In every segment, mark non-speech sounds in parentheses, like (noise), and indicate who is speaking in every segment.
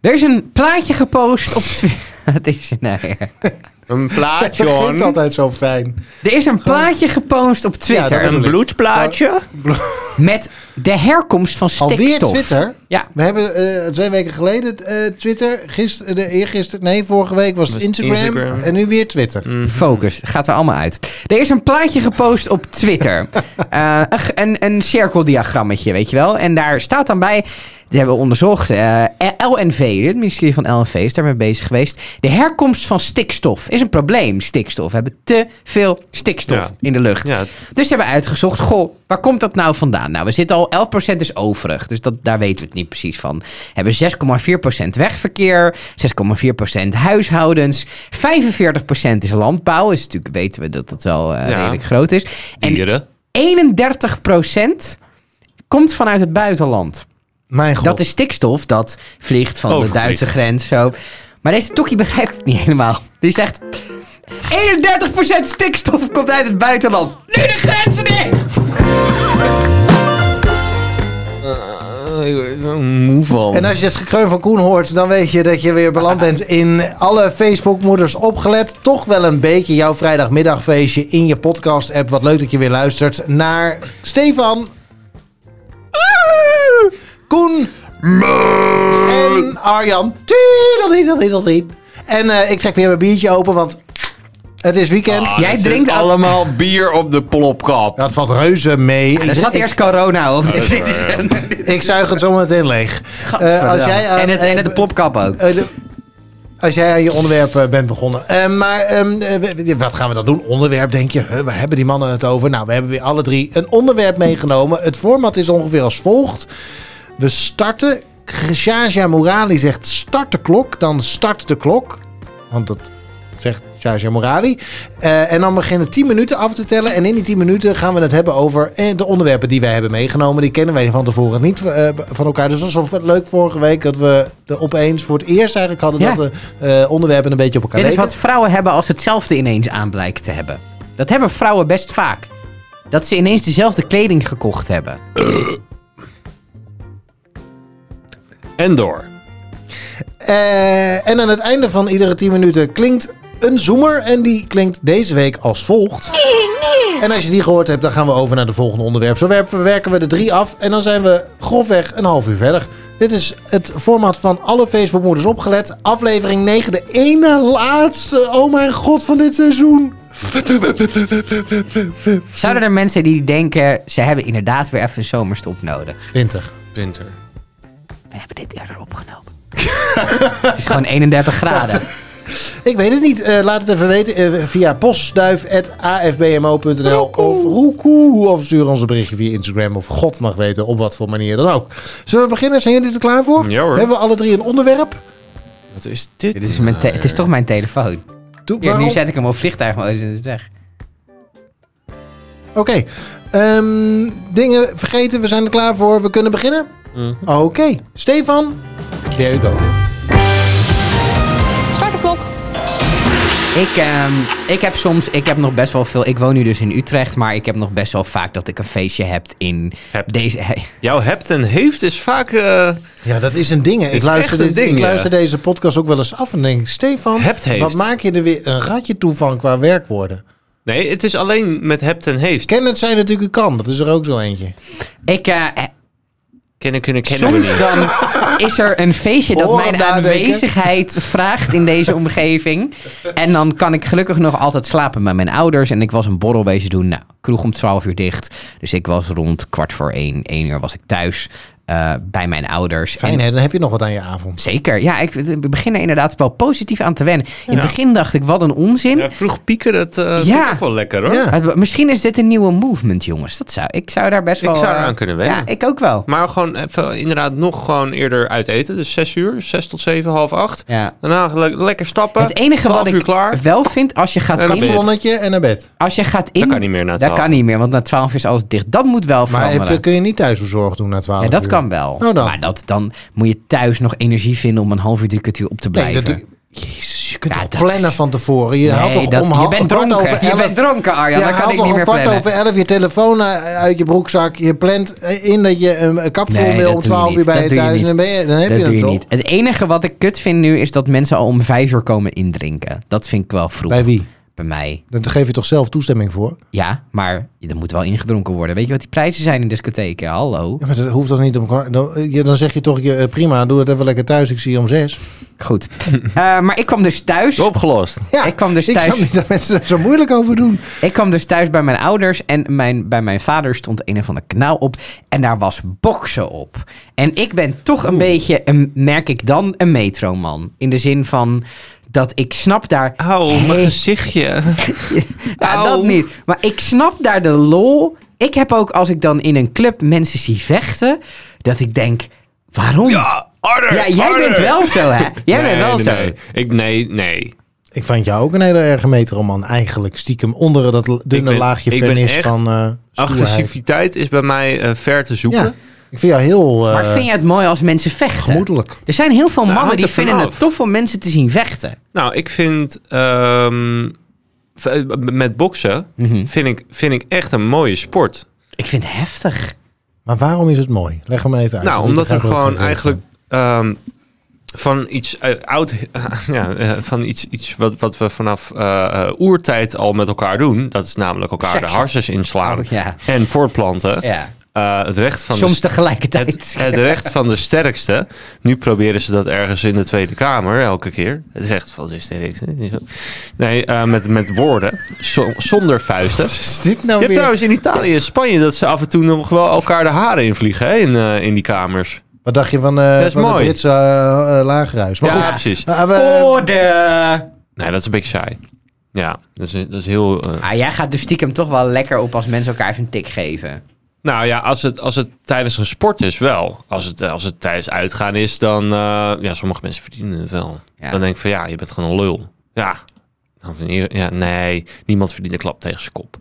Speaker 1: Er is een plaatje gepost op Twitter. Het is, nou ja.
Speaker 2: (laughs) Een
Speaker 3: Het
Speaker 2: plaatje,
Speaker 3: begint
Speaker 2: hoor.
Speaker 3: altijd zo fijn.
Speaker 1: Er is een plaatje gepost op Twitter
Speaker 3: Ja, dat-
Speaker 2: Een bloedplaatje.
Speaker 1: met de herkomst van stikstof.
Speaker 3: Oh. Alweer Twitter?
Speaker 1: Ja.
Speaker 3: We hebben eh, twee weken geleden eh, Twitter. Gister, de, eergisteren, nee, vorige week was het
Speaker 2: Was
Speaker 3: Instagram,
Speaker 2: Instagram.
Speaker 3: En nu weer Twitter.
Speaker 1: Mm. Focus, gaat er allemaal uit. Er is een plaatje gepost op Twitter. Eh, een g- een, een cirkeldiagrammetje, weet je wel. En daar staat dan bij, die hebben we onderzocht, eh, LNV, het ministerie van LNV is daarmee bezig geweest. De herkomst van stikstof is een probleem, stikstof. We hebben te veel stikstof
Speaker 2: Ja.
Speaker 1: in de lucht.
Speaker 2: Ja.
Speaker 1: Dus ze hebben uitgezocht, goh, waar komt dat nou vandaan? Nou, we zitten al 11% is overig, dus dat, daar weten we het niet precies van. Hebben 6,4% wegverkeer, 6,4% huishoudens, 45% is landbouw, dus natuurlijk weten we dat dat wel eh,
Speaker 2: Ja.
Speaker 1: redelijk groot is. En
Speaker 2: Dieren.
Speaker 1: 31% komt vanuit het buitenland.
Speaker 3: Mijn god.
Speaker 1: Dat is stikstof dat vliegt van de
Speaker 2: Overvliegt.
Speaker 1: Duitse grens. Zo. Maar deze Tokkie begrijpt het niet helemaal. Die zegt... 31% stikstof komt uit het buitenland. Nu de grenzen dicht!
Speaker 2: Eh, Move on.
Speaker 3: En als je het gekreun van Koen hoort, dan weet je dat je weer beland bent in alle Facebookmoeders opgelet. Toch wel een beetje jouw vrijdagmiddagfeestje in je podcast-app. Wat leuk dat je weer luistert naar Stefan, Koen
Speaker 2: Ah,
Speaker 3: en Arjan. Tiedelie, dat dat dat En eh, ik trek weer mijn biertje open, want het is weekend.
Speaker 2: Ah,
Speaker 1: Jij
Speaker 2: er zit
Speaker 1: drinkt al-
Speaker 2: allemaal bier op de plopkap.
Speaker 3: Dat valt reuze mee.
Speaker 1: Er
Speaker 3: Ik-
Speaker 1: zat
Speaker 3: ik-
Speaker 1: eerst corona op. Dit
Speaker 2: waar,
Speaker 1: Oh, is
Speaker 2: ja.
Speaker 1: een-
Speaker 3: Ik zuig het zometeen leeg. Eh, als jij aan-
Speaker 1: en het, en het de plopkap ook.
Speaker 3: Eh, de- als jij aan je onderwerp eh, bent begonnen. Eh, maar ehm, eh, we- we- wat gaan we dan doen? Onderwerp, denk je? Huh, waar hebben die mannen het over? Nou, we hebben weer alle drie een onderwerp meegenomen. Het format is ongeveer als volgt. We starten. Shaja Morali zegt start de klok. Dan start de klok. Want dat zegt Shaja Morali. Eh, en dan beginnen 10 minuten af te tellen. En in die 10 minuten gaan we het hebben over eh, de onderwerpen die wij hebben meegenomen. Die kennen wij van tevoren niet eh, van elkaar. Dus alsof het leuk vorige week dat we er opeens voor het eerst eigenlijk hadden
Speaker 1: Ja.
Speaker 3: dat de eh, onderwerpen een beetje op elkaar
Speaker 1: Dit is
Speaker 3: leken.
Speaker 1: wat vrouwen hebben als ze hetzelfde ineens aan blijkt te hebben. Dat hebben vrouwen best vaak. Dat ze ineens dezelfde kleding gekocht hebben.
Speaker 2: En door.
Speaker 3: Eh, en aan het einde van iedere 10 minuten klinkt een zoemer. En die klinkt deze week als volgt. En als je die gehoord hebt, dan gaan we over naar de volgende onderwerp. Zo werpen- werken we de drie af en dan zijn we grofweg een half uur verder. Dit is het format van alle Facebookmoeders opgelet. Aflevering 9, de ene laatste, oh mijn god, van dit seizoen.
Speaker 1: Zouden er mensen die denken, ze hebben inderdaad weer even een zomerstop nodig?
Speaker 3: 20.
Speaker 2: Winter.
Speaker 1: We hebben dit eerder opgenomen. (laughs) het is gewoon 31 graden.
Speaker 3: Ik weet het niet. Eh, laat het even weten eh, via postduif.afbmo.nl of roekoe. Of stuur ons een berichtje via Instagram of God mag weten op wat voor manier dan ook. Zullen we beginnen? Zijn jullie er klaar voor?
Speaker 2: Ja, hoor.
Speaker 3: Hebben we alle drie een onderwerp?
Speaker 2: Wat is dit?
Speaker 1: Dit is mijn te- het is toch mijn telefoon.
Speaker 3: Doe-
Speaker 1: Ja, nu
Speaker 3: waarom?
Speaker 1: zet ik hem op vliegtuigmodus en het is weg.
Speaker 3: Oké. Ehm, dingen vergeten, we zijn er klaar voor. We kunnen beginnen?
Speaker 2: Mhm.
Speaker 3: Oké. Stefan, there you go.
Speaker 4: Start de klok.
Speaker 1: Ik, ehm, ik heb soms, ik heb nog best wel veel. Ik woon nu dus in Utrecht, maar ik heb nog best wel vaak dat ik een feestje heb in
Speaker 2: Hebt.
Speaker 1: deze.
Speaker 2: Jouw hebt en heeft is vaak eh,
Speaker 3: Ja, dat is een ding. hè. Ik
Speaker 2: Is
Speaker 3: luister,
Speaker 2: echt een
Speaker 3: dit-
Speaker 2: ding,
Speaker 3: ik
Speaker 2: ja.
Speaker 3: luister deze podcast ook wel eens af en denk... Stefan,
Speaker 2: Hebt heeft.
Speaker 3: wat maak je er weer een ratje toe van qua werkwoorden?
Speaker 2: Nee, het is alleen met hebt en heeft.
Speaker 3: Ken het zijn natuurlijk kan. Dat is er ook zo eentje.
Speaker 1: Ik, eh, eh,
Speaker 2: Kennen kunnen kennen we
Speaker 1: soms
Speaker 2: niet.
Speaker 1: dan is er een feestje dat
Speaker 3: Hoor hem
Speaker 1: mijn
Speaker 3: nadenken.
Speaker 1: aanwezigheid vraagt in deze omgeving. En dan kan ik gelukkig nog altijd slapen met mijn ouders. En ik was een borrel bezig doen. Nou, kroeg om 12 uur dicht. Dus ik was rond kwart voor één, één uur was ik thuis eh, bij mijn ouders. En
Speaker 3: Fijn hè, dan heb je nog wat aan je avond.
Speaker 1: Zeker. Ja, ik ik begin er inderdaad wel positief aan te wennen. In het
Speaker 2: Ja.
Speaker 1: begin dacht ik, wat een onzin.
Speaker 2: Ja, vroeg pieken, dat eh vind
Speaker 1: Ja.
Speaker 2: ik ook wel lekker hoor.
Speaker 3: Ja.
Speaker 1: Maar Misschien is dit een nieuwe movement, jongens. Dat zou, ik zou daar best
Speaker 2: Ik
Speaker 1: wel...
Speaker 2: zou eraan
Speaker 1: eh,
Speaker 2: kunnen wennen.
Speaker 1: Ja, ik ook wel.
Speaker 2: Maar gewoon even, inderdaad nog gewoon eerder uit eten. Dus 6 uur, 6 tot 7, half 8.
Speaker 1: Ja.
Speaker 2: Daarna gelijk- lekker stappen.
Speaker 1: Het enige
Speaker 2: 12
Speaker 1: wat
Speaker 2: uur
Speaker 1: ik
Speaker 2: klaar.
Speaker 1: wel vind, als je gaat
Speaker 2: En dan ben
Speaker 1: in...
Speaker 2: je-
Speaker 3: Zonnetje en naar bed.
Speaker 1: Als je gaat in...
Speaker 2: Dat kan niet meer na
Speaker 1: Dat
Speaker 2: 12.
Speaker 1: kan niet meer, want na 12 uur is alles dicht. Dat moet wel
Speaker 3: Maar heb,
Speaker 1: veranderen.
Speaker 3: je- kun je niet thuisbezorgd doen na 12
Speaker 1: ja, dat
Speaker 3: uur?
Speaker 1: kan wel.
Speaker 3: Nou dan.
Speaker 1: Maar dat, dan moet je thuis nog energie vinden om een half uur, drie kwartier op te
Speaker 3: Nee,
Speaker 1: blijven.
Speaker 3: dat doe- Jezus, je kunt
Speaker 1: Ja,
Speaker 3: toch
Speaker 1: dat
Speaker 3: plannen
Speaker 1: is-
Speaker 3: van tevoren? Je, haalt
Speaker 1: Nee,
Speaker 3: toch
Speaker 1: dat,
Speaker 3: om hal-
Speaker 1: je bent
Speaker 3: kwart
Speaker 1: dronken.
Speaker 3: over
Speaker 1: je
Speaker 3: elf-
Speaker 1: bent dronken, Arjan.
Speaker 3: je
Speaker 1: dan kan
Speaker 3: haalt
Speaker 1: ik
Speaker 3: toch
Speaker 1: niet
Speaker 3: om
Speaker 1: meer
Speaker 3: kwart
Speaker 1: plannen.
Speaker 3: over elf je telefoon eh, uit je broekzak. Je plant eh, in dat je een kapsel
Speaker 1: Nee,
Speaker 3: wil
Speaker 1: dat
Speaker 3: om
Speaker 1: doe je
Speaker 3: 12 uur
Speaker 1: niet.
Speaker 3: bij
Speaker 1: Dat
Speaker 3: je
Speaker 1: doe je
Speaker 3: thuis. en
Speaker 1: niet.
Speaker 3: Dan, ben je, dan heb
Speaker 1: dat doe
Speaker 3: je hem
Speaker 1: je
Speaker 3: toch?
Speaker 1: niet. Het enige wat ik kut vind nu is dat mensen al om vijf uur komen indrinken. Dat vind ik wel vroeg.
Speaker 3: Bij wie?
Speaker 1: Bij mij.
Speaker 3: Dan geef je toch zelf toestemming voor?
Speaker 1: Ja, maar er moet wel ingedronken worden. Weet je wat die prijzen zijn in discotheken? Hallo.
Speaker 3: Ja, maar dat hoeft toch niet om kwart- Dan, eh, ja, dan zeg je toch, je, eh, prima, doe het even lekker thuis. Ik zie je om zes.
Speaker 1: Goed. (laughs) Eh, maar ik kwam dus thuis.
Speaker 4: Opgelost.
Speaker 3: Ja,
Speaker 1: Ik kwam dus
Speaker 3: ik
Speaker 1: thuis-
Speaker 3: snap niet dat mensen er zo moeilijk over doen.
Speaker 1: Ik kwam dus thuis bij mijn ouders en mijn, bij mijn vader stond een of ander kanaal op. En daar was boksen op. En ik ben toch een beetje, een, merk ik dan, een metroman. In de zin van dat ik snap daar...
Speaker 2: Auw, mijn
Speaker 1: (laughs)
Speaker 2: gezichtje.
Speaker 1: Ja,
Speaker 2: Au.
Speaker 1: dat niet. Maar ik snap daar de lol. Ik heb ook als ik dan in een club mensen zie vechten, dat ik denk, waarom? Ja,
Speaker 2: harder,
Speaker 1: jij bent wel zo, hè? Jij
Speaker 2: nee,
Speaker 1: bent wel
Speaker 2: nee,
Speaker 1: zo.
Speaker 2: Nee. Ik, nee, nee.
Speaker 3: Ik vond jou ook een hele erge metroman eigenlijk. Stiekem onder dat l- dunne
Speaker 2: ben-
Speaker 3: laagje
Speaker 2: ik ben
Speaker 3: vernis
Speaker 2: echt
Speaker 3: van eh stoerheid.
Speaker 2: Agressiviteit is bij mij eh, ver te zoeken.
Speaker 3: Ja, ik vind jou heel eh,
Speaker 1: Maar vind je het mooi als mensen vechten?
Speaker 3: gemoedelijk.
Speaker 1: Er zijn heel veel
Speaker 2: Nou,
Speaker 1: mannen
Speaker 2: hangt
Speaker 1: die
Speaker 2: er van
Speaker 1: vinden
Speaker 2: af.
Speaker 1: het tof om mensen te zien vechten.
Speaker 2: Nou, ik vind ehm, v- met boksen
Speaker 1: Mhm.
Speaker 2: vind, ik, vind ik echt een mooie sport.
Speaker 1: Ik vind het heftig.
Speaker 3: Maar waarom is het mooi? Leg hem even uit.
Speaker 2: nou,
Speaker 3: want
Speaker 2: omdat
Speaker 3: ik
Speaker 2: er
Speaker 3: begrijp ook
Speaker 2: gewoon
Speaker 3: geen
Speaker 2: eigenlijk ehm, van iets eh, oud, (laughs) ja, eh, van iets, iets wat, wat we vanaf eh, eh, oertijd al met elkaar doen. Dat is namelijk elkaar
Speaker 1: Seksen.
Speaker 2: de harses inslaan
Speaker 1: Oh,
Speaker 2: (laughs)
Speaker 1: ja.
Speaker 2: en voortplanten.
Speaker 1: Ja.
Speaker 2: Eh, het recht van de
Speaker 1: Soms tegelijkertijd.
Speaker 2: Het,
Speaker 1: (laughs)
Speaker 3: (laughs)
Speaker 2: het recht van de sterkste. Nu proberen ze dat ergens in de Tweede Kamer elke keer. Het recht van de sterkste. niet zo. Nee, eh, met, met woorden. Zo- zonder vuisten.
Speaker 3: Wat is dit nou
Speaker 2: Je hebt
Speaker 3: weer?
Speaker 2: trouwens in Italië en Spanje dat ze af en toe nog wel elkaar de haren invliegen hè, in, eh, in die kamers.
Speaker 3: Wat dacht je van, eh,
Speaker 2: Dat is
Speaker 3: van het
Speaker 2: mooi.
Speaker 3: Britse eh, eh, lagerhuis? Maar
Speaker 2: ja,
Speaker 3: goed,
Speaker 2: precies.
Speaker 3: eh, we-
Speaker 1: Orde!
Speaker 2: Nee, dat is een beetje saai. Ja, dat is, dat is heel... eh,
Speaker 1: Ah, jij gaat dus stiekem toch wel lekker op als mensen elkaar even een tik geven.
Speaker 2: Nou ja, als het, als het tijdens een sport is wel. Als het, eh, als het tijdens uitgaan is, dan... eh, ja, sommige mensen verdienen het wel.
Speaker 1: Ja.
Speaker 2: Dan denk ik van, ja, je bent gewoon een lul. Ja. Dan van, hier- ja, nee, niemand verdient een klap tegen zijn kop.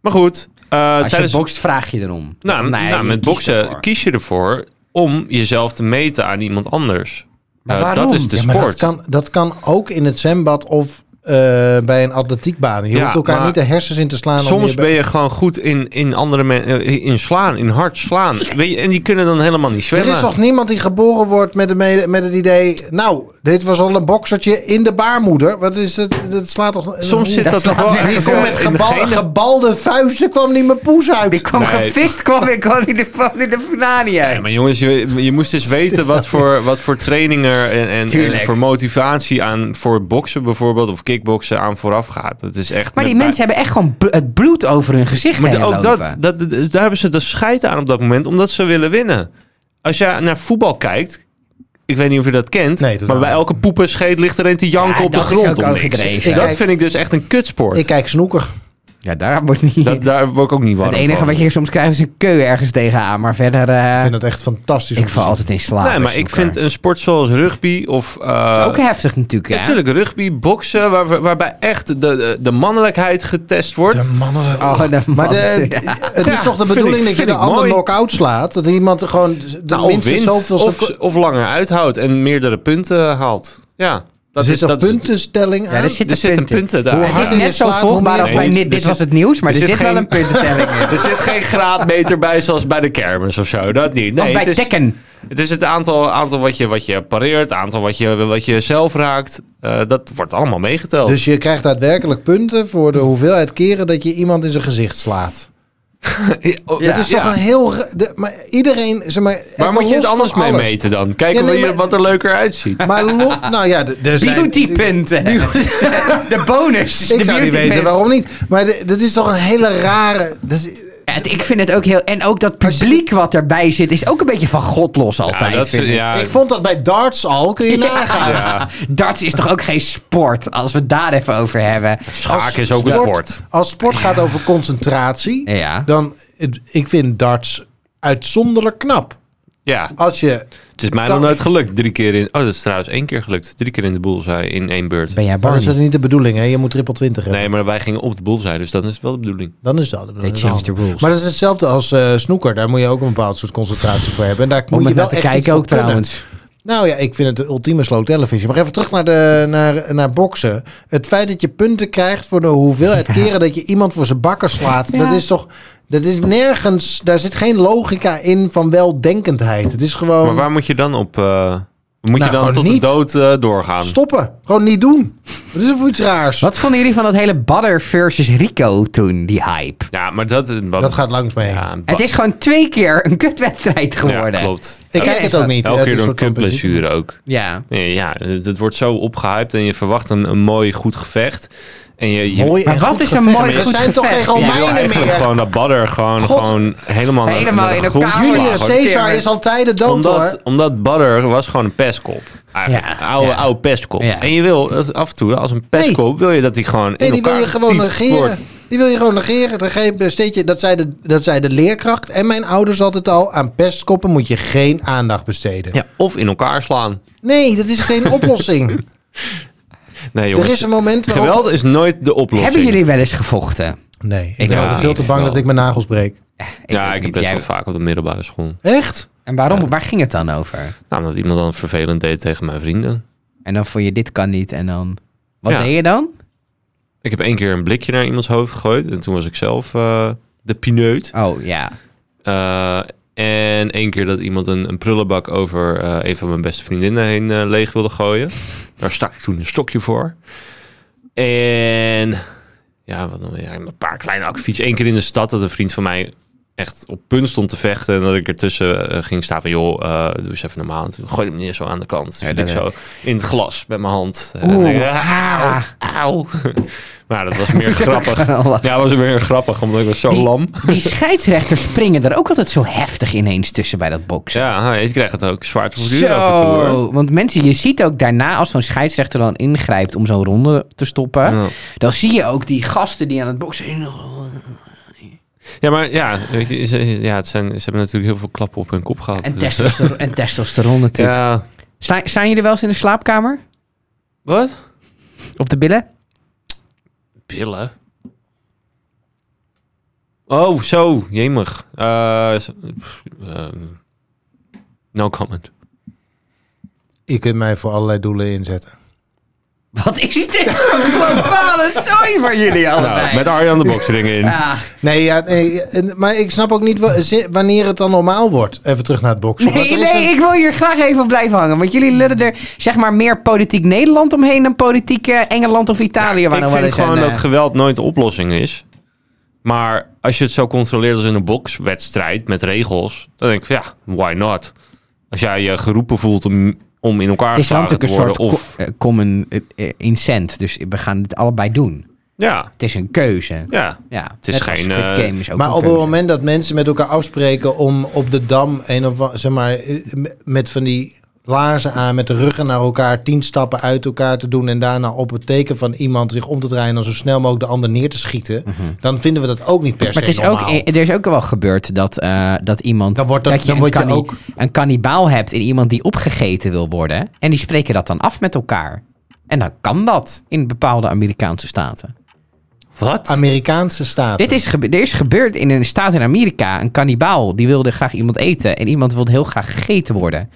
Speaker 2: Maar goed, eh,
Speaker 1: Als
Speaker 2: tijdens...
Speaker 1: je bokst, vraag je erom.
Speaker 2: nou,
Speaker 1: Nee,
Speaker 2: nou,
Speaker 1: je
Speaker 2: met
Speaker 1: kiest
Speaker 2: boksen
Speaker 1: ervoor.
Speaker 2: kies je ervoor om jezelf te meten aan iemand anders.
Speaker 1: Maar
Speaker 2: Eh,
Speaker 1: waarom?
Speaker 2: Dat is de
Speaker 3: Ja, maar dat
Speaker 2: sport.
Speaker 3: kan, dat kan ook in het zwembad of eh, bij een atletiekbaan. Je
Speaker 2: Ja,
Speaker 3: hoeft elkaar
Speaker 2: maar
Speaker 3: niet de hersens in te slaan. om
Speaker 2: Soms
Speaker 3: bij-
Speaker 2: ben je gewoon goed in, in andere mensen, in slaan, in hard slaan. Weet je, en die kunnen dan helemaal niet
Speaker 3: Er
Speaker 2: zwemmen.
Speaker 3: is nog niemand die geboren wordt met, de mede- met het idee... Nou, dit was al een boksertje in de baarmoeder. Wat is het? Dat slaat toch...
Speaker 2: Soms zit
Speaker 1: Dat
Speaker 2: dat, toch
Speaker 1: slaat
Speaker 2: wel
Speaker 1: nergens
Speaker 2: ergens
Speaker 1: op.
Speaker 3: Kom met
Speaker 2: in de
Speaker 3: gebal-
Speaker 2: genen.
Speaker 3: gebalde vuisten kwam niet mijn poes uit.
Speaker 1: Oh, Die kwam
Speaker 2: Nee.
Speaker 1: gevist, kwam ik kwam in de, kwam in de finale uit.
Speaker 2: Ja, maar jongens, je, je moest eens weten wat
Speaker 1: (laughs)
Speaker 2: voor, wat voor training er en, en,
Speaker 1: Tuurlijk.
Speaker 2: en voor motivatie aan voor boksen bijvoorbeeld of kickboksen aan vooraf gaat. Dat is echt.
Speaker 1: Maar die
Speaker 2: met-
Speaker 1: mensen hebben echt gewoon bl- het bloed over hun gezicht
Speaker 2: Maar
Speaker 1: heen
Speaker 2: ook dat,
Speaker 1: lopen.
Speaker 2: dat, dat- daar hebben ze de scheid aan op dat moment, omdat ze willen winnen. Als je naar voetbal kijkt, ik weet niet of je dat kent,
Speaker 3: Nee, totaal
Speaker 2: maar bij
Speaker 3: niet.
Speaker 2: elke poepen scheet ligt er een te janken
Speaker 1: Ja,
Speaker 2: op de
Speaker 1: dat is ook
Speaker 2: grond. om niks.
Speaker 1: overdreven.
Speaker 2: Dat
Speaker 3: Kijk-
Speaker 2: vind ik dus echt een kutsport.
Speaker 3: Ik kijk snoeker.
Speaker 1: Ja, daar wordt niet...
Speaker 2: dat, daar word ik ook niet warm
Speaker 1: het enige
Speaker 2: van.
Speaker 1: wat je soms krijgt is een keu ergens tegenaan. Maar verder, eh,
Speaker 3: Ik vind het echt fantastisch. om
Speaker 1: ik
Speaker 3: te
Speaker 1: val
Speaker 3: zien.
Speaker 1: altijd in slaap.
Speaker 2: Nee,
Speaker 1: bij
Speaker 2: maar ik
Speaker 1: snooker.
Speaker 2: vind een sport zoals rugby of... eh,
Speaker 1: Dat is ook heftig natuurlijk, hè?
Speaker 2: Natuurlijk, rugby, boksen, waar, waarbij echt de, de, de mannelijkheid getest wordt.
Speaker 3: De mannen.
Speaker 1: Oh, de
Speaker 3: maar de,
Speaker 1: mannen.
Speaker 3: het is
Speaker 2: Ja,
Speaker 3: toch de
Speaker 2: vind
Speaker 3: bedoeling
Speaker 2: ik-
Speaker 3: dat je
Speaker 2: vind
Speaker 3: de
Speaker 2: ik
Speaker 3: ander
Speaker 2: mooi.
Speaker 3: knock-out slaat? Dat iemand gewoon de
Speaker 2: Nou, of
Speaker 3: minstens
Speaker 2: wint,
Speaker 3: zoveel...
Speaker 2: of, of langer uithoudt en meerdere punten haalt. Ja,
Speaker 3: er
Speaker 2: dat
Speaker 3: zit
Speaker 2: is...
Speaker 3: een
Speaker 2: Dat is-
Speaker 3: puntenstelling
Speaker 1: Ja,
Speaker 3: aan.
Speaker 1: er zit,
Speaker 2: er zitten
Speaker 1: punten.
Speaker 2: punten daar.
Speaker 3: Hoe
Speaker 1: Het
Speaker 3: hard
Speaker 1: is
Speaker 2: Ja.
Speaker 3: je
Speaker 1: net zo
Speaker 3: slaat, hoe
Speaker 1: volgbaar
Speaker 3: meer
Speaker 1: als
Speaker 3: je
Speaker 1: bij
Speaker 2: doet.
Speaker 1: Dit,
Speaker 2: Er
Speaker 1: dit
Speaker 2: zit-
Speaker 1: was het nieuws, maar er,
Speaker 2: er
Speaker 1: zit
Speaker 2: zit
Speaker 1: wel
Speaker 2: geen-
Speaker 1: een
Speaker 2: (laughs)
Speaker 1: puntentelling in.
Speaker 2: (laughs) Er zit geen graadmeter bij zoals bij de kermis of zo. Dat niet.
Speaker 1: of
Speaker 2: Nee,
Speaker 1: bij
Speaker 2: het, is,
Speaker 1: Tekken.
Speaker 2: het is het aantal, aantal wat, je, wat je pareert, aantal wat je, wat je zelf raakt. eh, dat wordt allemaal meegeteld.
Speaker 3: Dus je krijgt daadwerkelijk punten voor de hoeveelheid keren dat je iemand in zijn gezicht slaat.
Speaker 2: Oh,
Speaker 1: Ja.
Speaker 2: dat
Speaker 3: Het eh, is toch een heel... ra- de- maar iedereen... Zeg maar,
Speaker 2: Waar
Speaker 3: even
Speaker 2: moet je
Speaker 3: los
Speaker 2: het anders
Speaker 3: van
Speaker 2: mee
Speaker 3: alles.
Speaker 2: meten dan? Kijken
Speaker 3: Ja, nee,
Speaker 2: hoe je-
Speaker 3: maar-
Speaker 2: wat er leuker uitziet.
Speaker 3: Maar lo-
Speaker 2: (laughs)
Speaker 3: nou ja, d- er zijn...
Speaker 1: Beautypunten. de bonus.
Speaker 3: Ik
Speaker 1: de
Speaker 3: zou niet
Speaker 1: beautypunten.
Speaker 3: weten waarom niet. Maar d- dat is toch een hele rare... dat is-
Speaker 1: Ja, het- ik vind het ook heel... En ook dat publiek wat erbij zit is ook een beetje van god los altijd.
Speaker 2: dat
Speaker 1: vind
Speaker 2: vind-
Speaker 1: ik.
Speaker 2: ja,
Speaker 3: ik vond dat bij darts al, kun je nagaan.
Speaker 2: ja.
Speaker 1: Darts is toch ook geen sport, als we het daar even over hebben.
Speaker 2: Schaken is ook een sport.
Speaker 3: Als sport gaat over concentratie,
Speaker 1: Ja.
Speaker 3: dan... het- ik vind darts uitzonderlijk knap.
Speaker 2: Ja.
Speaker 3: Als je...
Speaker 2: Het is mij
Speaker 3: Kan-
Speaker 2: nog nooit gelukt. Drie keer in. Oh, dat is trouwens één keer gelukt. Drie keer in de bullseye in één beurt.
Speaker 1: Ben jij
Speaker 3: Maar dat is
Speaker 1: Barney?
Speaker 3: niet de bedoeling, hè? Je moet triple 20 hebben.
Speaker 2: Nee, maar wij gingen op de bullseye, dus dat is wel de bedoeling.
Speaker 3: Dan is dat.
Speaker 1: They changed the rules.
Speaker 3: Maar dat is hetzelfde als eh snoeker. Daar moet je ook een bepaald soort concentratie voor hebben. En daar
Speaker 1: Om
Speaker 3: moet je
Speaker 1: het
Speaker 3: wel
Speaker 1: naar te
Speaker 3: echt iets
Speaker 1: kijken
Speaker 3: voor
Speaker 1: ook
Speaker 3: kunnen.
Speaker 1: trouwens.
Speaker 3: Nou ja, ik vind het de ultieme slow television. Maar even terug naar, de, naar, naar boksen. Het feit dat je punten krijgt voor de hoeveelheid keren dat je iemand voor zijn bakken slaat.
Speaker 1: Ja.
Speaker 3: Dat is toch. Dat is nergens. Daar zit geen logica in van weldenkendheid. Het is gewoon.
Speaker 2: Maar waar moet je dan op? eh, moet
Speaker 3: Nou,
Speaker 2: je
Speaker 3: gewoon
Speaker 2: dan tot
Speaker 3: niet.
Speaker 2: de dood eh, doorgaan?
Speaker 3: Stoppen. Gewoon niet doen. Dat is voor iets raars.
Speaker 1: Wat vonden jullie van dat hele Badder versus Rico toen, die hype?
Speaker 2: Ja, maar dat... eh, wat-
Speaker 3: Dat gaat langs mee.
Speaker 2: ja,
Speaker 1: Het is gewoon twee keer een kutwedstrijd
Speaker 2: ja,
Speaker 1: geworden.
Speaker 2: klopt.
Speaker 3: Ik kijk
Speaker 1: Ja,
Speaker 3: het ook niet.
Speaker 2: Elke
Speaker 3: Het
Speaker 2: keer
Speaker 3: is
Speaker 2: door een
Speaker 3: soort van principe.
Speaker 2: kutblessure ook.
Speaker 1: Ja.
Speaker 2: Nee, Ja, het, het wordt zo opgehyped en je verwacht een, een mooi, goed gevecht. En je, je,
Speaker 3: Mooi
Speaker 1: Maar
Speaker 3: en
Speaker 1: wat
Speaker 3: goed
Speaker 1: is een
Speaker 3: gevecht.
Speaker 1: mooi
Speaker 3: Er
Speaker 1: goed
Speaker 3: zijn toch
Speaker 1: gevecht? Ja,
Speaker 3: geen
Speaker 2: je wil
Speaker 3: Romeinen
Speaker 2: eigenlijk
Speaker 3: meer.
Speaker 2: gewoon dat badder gewoon,
Speaker 3: God.
Speaker 2: gewoon helemaal, naar-
Speaker 1: Helemaal
Speaker 2: naar de
Speaker 1: in
Speaker 2: grond
Speaker 1: elkaar
Speaker 2: slaan.
Speaker 1: worden.
Speaker 3: Julius Caesar is al tijden dood
Speaker 2: Omdat,
Speaker 3: hoor.
Speaker 2: omdat badder was gewoon een pestkop. Eigenlijk.
Speaker 1: Ja,
Speaker 2: oude,
Speaker 1: ja.
Speaker 2: oude pestkop.
Speaker 1: Ja.
Speaker 2: En je wil dat af en toe, als een pestkop, wil je dat hij gewoon
Speaker 3: Nee,
Speaker 2: in
Speaker 3: die
Speaker 2: elkaar
Speaker 3: wil je gewoon
Speaker 2: getiefd
Speaker 3: negeren.
Speaker 2: wordt.
Speaker 3: Die wil je gewoon negeren. Dan geef- besteed je, dat, zei de, dat zei de leerkracht en mijn ouders altijd al. Aan pestkoppen moet je geen aandacht besteden.
Speaker 2: Ja, of in elkaar slaan.
Speaker 3: Nee, dat is geen oplossing.
Speaker 2: Nee, jongens.
Speaker 3: er is een moment waarop...
Speaker 2: Geweld is nooit de oplossing.
Speaker 1: Hebben jullie wel eens gevochten?
Speaker 3: Nee, ik,
Speaker 1: Ik
Speaker 3: ben
Speaker 1: ook
Speaker 3: altijd veel
Speaker 1: niet.
Speaker 3: te bang dat ik mijn nagels breek.
Speaker 2: ja,
Speaker 1: weet
Speaker 2: ik heb
Speaker 1: niet,
Speaker 2: best
Speaker 1: jij-
Speaker 2: wel vaak op de middelbare school.
Speaker 3: Echt?
Speaker 1: En waarom, waar ging het dan over?
Speaker 2: Nou, omdat iemand dan vervelend deed tegen mijn vrienden.
Speaker 1: En dan vond je dit kan niet en dan... Wat
Speaker 2: Ja.
Speaker 1: deed je dan?
Speaker 2: Ik heb één keer een blikje naar iemands hoofd gegooid. En toen was ik zelf eh, de pineut.
Speaker 1: Oh ja.
Speaker 2: Eh, en één keer dat iemand een, een prullenbak over eh, een van mijn beste vriendinnen heen eh, leeg wilde
Speaker 1: (laughs)
Speaker 2: gooien. Daar stak ik toen een stokje voor. En ja, wat dan weer? Een paar kleine acties. Eén keer in de stad dat een vriend van mij echt op punt stond te vechten. En dat ik ertussen eh, ging staan van, joh, eh, doe eens even normaal. En Toen gooide meneer zo aan de kant.
Speaker 1: Ja,
Speaker 2: viel
Speaker 1: dat-
Speaker 2: ik zo in het glas met mijn hand. En
Speaker 1: Oeh,
Speaker 2: ik, eh,
Speaker 1: Ah.
Speaker 2: auw, auw. maar dat was
Speaker 1: (laughs)
Speaker 2: meer (laughs) grappig.
Speaker 1: Gewoon
Speaker 2: Ja, dat was weer grappig, omdat ik was zo
Speaker 1: Die-
Speaker 2: lam.
Speaker 1: Die scheidsrechters springen er ook altijd zo heftig ineens tussen bij dat boksen.
Speaker 2: Ja, ik krijg het ook zwaar te verduren af en toe. hoor.
Speaker 1: Zo, want mensen, je ziet ook daarna als zo'n scheidsrechter dan ingrijpt om zo'n ronde te stoppen,
Speaker 2: Ja.
Speaker 1: dan zie je ook die gasten die aan het boksen zijn.
Speaker 2: (laughs) Ja, maar ja, weet je, ze, ja het zijn, ze hebben natuurlijk heel veel klappen op hun kop gehad.
Speaker 1: En,
Speaker 2: Dus,
Speaker 1: testosteron, en testosteron
Speaker 2: eh,
Speaker 1: natuurlijk.
Speaker 2: ja,
Speaker 1: Sla- Staan jullie wel eens in de slaapkamer?
Speaker 2: wat?
Speaker 1: Op de billen?
Speaker 2: Pillen. Oh, zo, jemig. Eh, zo- pff, ehm, no comment.
Speaker 3: Je kunt mij voor allerlei doelen inzetten.
Speaker 1: Wat is
Speaker 2: (laughs)
Speaker 1: dit voor een globale zooi van jullie allebei? Ah.
Speaker 2: Nou, met Arjan de boksring
Speaker 1: (laughs)
Speaker 2: in.
Speaker 1: Ja.
Speaker 3: Nee, ja, nee, en- maar ik snap ook niet wa- zi- wanneer het dan normaal wordt. Even terug naar het boksen. Want
Speaker 1: Nee,
Speaker 3: er is
Speaker 1: nee,
Speaker 3: een-
Speaker 1: ik wil hier graag even op blijven hangen. Want jullie lullen er zeg maar meer politiek Nederland omheen dan politiek eh, Engeland of Italië. waar
Speaker 2: ik
Speaker 1: dan wel
Speaker 2: vind
Speaker 1: eens
Speaker 2: gewoon
Speaker 1: een,
Speaker 2: dat
Speaker 1: eh,
Speaker 2: geweld nooit de oplossing is. Maar als je het zo controleert als in een bokswedstrijd met regels, dan denk ik, van, ja, why not? Als jij je geroepen voelt om, om in elkaar
Speaker 1: Het is wel
Speaker 2: geslagen te
Speaker 1: natuurlijk een
Speaker 2: worden,
Speaker 1: soort co-
Speaker 2: of
Speaker 1: eh, common eh, eh, incent. Dus we gaan het allebei doen.
Speaker 2: ja,
Speaker 1: Het is een keuze.
Speaker 2: ja,
Speaker 1: Ja,
Speaker 2: is
Speaker 1: net als
Speaker 2: geen,
Speaker 1: Squid
Speaker 2: eh,
Speaker 1: Game is ook
Speaker 3: Maar
Speaker 1: een
Speaker 3: op het
Speaker 1: keuze.
Speaker 3: moment dat mensen met elkaar afspreken om op de dam een of a- zeg maar eh, m- met van die laarzen aan, met de ruggen naar elkaar, tien stappen uit elkaar te doen en daarna op het teken van iemand zich om te draaien en dan zo snel mogelijk de ander neer te schieten,
Speaker 2: Mhm.
Speaker 3: dan vinden we dat ook niet per se
Speaker 1: Maar het is ook,
Speaker 3: normaal.
Speaker 1: eh, er is ook wel gebeurd dat, eh, dat iemand.
Speaker 3: Dan wordt dat-
Speaker 1: je,
Speaker 3: dan
Speaker 1: een,
Speaker 3: word je
Speaker 1: kanni-
Speaker 3: ook-
Speaker 1: een kannibaal hebt in iemand die opgegeten wil worden. En die spreken dat dan af met elkaar. En dan kan dat in bepaalde Amerikaanse staten.
Speaker 2: wat?
Speaker 3: Amerikaanse staat.
Speaker 1: Dit is, gebe- er is gebeurd in een staat in Amerika. Een kannibaal die wilde graag iemand eten. En iemand wilde heel graag gegeten worden.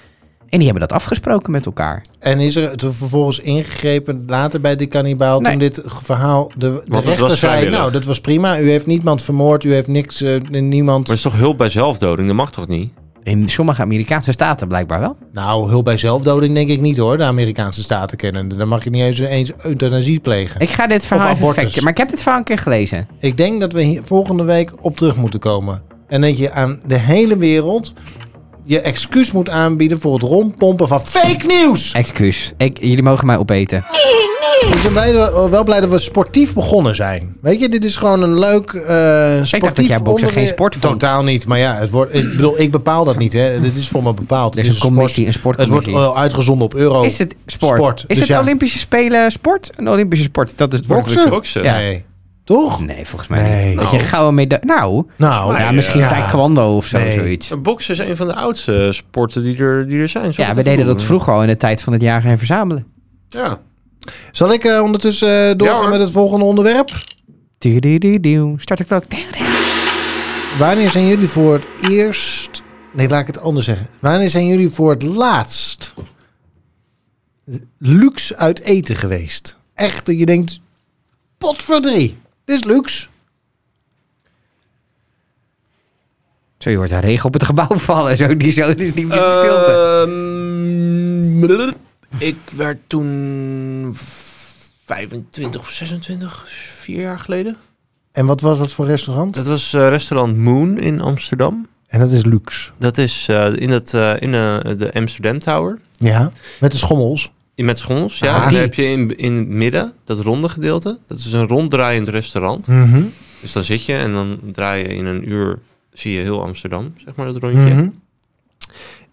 Speaker 1: En die hebben dat afgesproken met elkaar.
Speaker 3: En is er toen vervolgens ingegrepen later bij die kannibaal
Speaker 1: Nee.
Speaker 3: toen dit verhaal de, de
Speaker 2: het
Speaker 3: rechter
Speaker 2: was
Speaker 3: zei,
Speaker 2: vrijwillig.
Speaker 3: nou dat was prima, u heeft niemand vermoord, u heeft niks, eh, niemand.
Speaker 2: Maar het is toch hulp bij zelfdoding? Dat mag toch niet?
Speaker 1: In sommige Amerikaanse staten blijkbaar wel.
Speaker 3: Nou, hulp bij zelfdoding denk ik niet hoor. De Amerikaanse staten kennen. Dan mag je niet eens, eens euthanasie plegen. Ik,
Speaker 1: Ik ga dit verhaal
Speaker 3: Of
Speaker 1: even
Speaker 3: abortus.
Speaker 1: facten. Maar ik heb dit verhaal een keer gelezen.
Speaker 3: denk dat we hier volgende week op terug moeten komen. En dat je aan de hele wereld je excuus moet aanbieden voor het rondpompen van fake nieuws.
Speaker 1: Excuus. Ik, jullie mogen mij opeten.
Speaker 3: Ik ben blij dat we- wel blij dat we sportief begonnen zijn. Weet je, dit is gewoon een leuk eh sportief
Speaker 1: dat jij boksen
Speaker 3: onderwerp.
Speaker 1: geen sport vond.
Speaker 3: Totaal niet, maar ja, het wordt, ik bedoel, ik bepaal dat niet. Hè. Dit is voor me bepaald.
Speaker 1: Er is
Speaker 3: Dit
Speaker 1: een commissie, een
Speaker 3: Het wordt
Speaker 1: sportcommissie.
Speaker 3: eh, uitgezonden op euro.
Speaker 1: Is het sport?
Speaker 3: Sport,
Speaker 1: Is
Speaker 3: dus
Speaker 1: het
Speaker 3: ja.
Speaker 1: Olympische Spelen sport? Een Olympische sport, dat is het woord.
Speaker 3: Boksen?
Speaker 2: Boksen?
Speaker 1: Ja.
Speaker 3: Nee. Toch?
Speaker 1: Nee, volgens mij
Speaker 3: Nee.
Speaker 1: niet. Dat je
Speaker 2: Nou.
Speaker 1: een gouden medaille... Nou,
Speaker 3: Nou,
Speaker 1: ja, misschien
Speaker 3: ja.
Speaker 1: taekwondo of zo,
Speaker 3: Nee.
Speaker 1: zoiets.
Speaker 2: Boksen is een van de oudste sporten die er, die er zijn. zo
Speaker 1: Ja,
Speaker 2: te
Speaker 1: we deden
Speaker 2: voelen.
Speaker 1: dat vroeger al in de tijd van het jagen en verzamelen.
Speaker 2: Ja.
Speaker 3: Zal ik eh, ondertussen eh, doorgaan
Speaker 2: Ja, hoor.
Speaker 3: met het volgende onderwerp?
Speaker 1: Tudududu, Start de klok.
Speaker 3: Wanneer zijn jullie voor het eerst... Nee, laat ik het anders zeggen. Wanneer zijn jullie voor het laatst luxe uit eten geweest. Echt, dat je denkt, potverdrie, dit is luxe.
Speaker 1: Zo, je hoort daar regen op het gebouw (laughs) vallen. Zo, die, zo, die, die
Speaker 2: Eh,
Speaker 1: stilte.
Speaker 2: Ehm, ik werd toen 25 of 26, vier jaar geleden.
Speaker 3: En wat was dat voor restaurant?
Speaker 2: Dat was eh, restaurant Moon in Amsterdam.
Speaker 3: En dat is luxe.
Speaker 2: Dat is eh, in, het, eh, in eh, de Amsterdam Tower.
Speaker 3: Ja, met de schommels.
Speaker 2: In- Met schons, ja.
Speaker 1: Ah,
Speaker 2: En
Speaker 1: die.
Speaker 2: daar heb je in, in het midden, dat ronde gedeelte. Dat is een ronddraaiend restaurant.
Speaker 3: Mhm.
Speaker 2: Dus dan zit je en dan draai je in een uur, zie je heel Amsterdam, zeg maar, dat rondje.
Speaker 3: Mhm.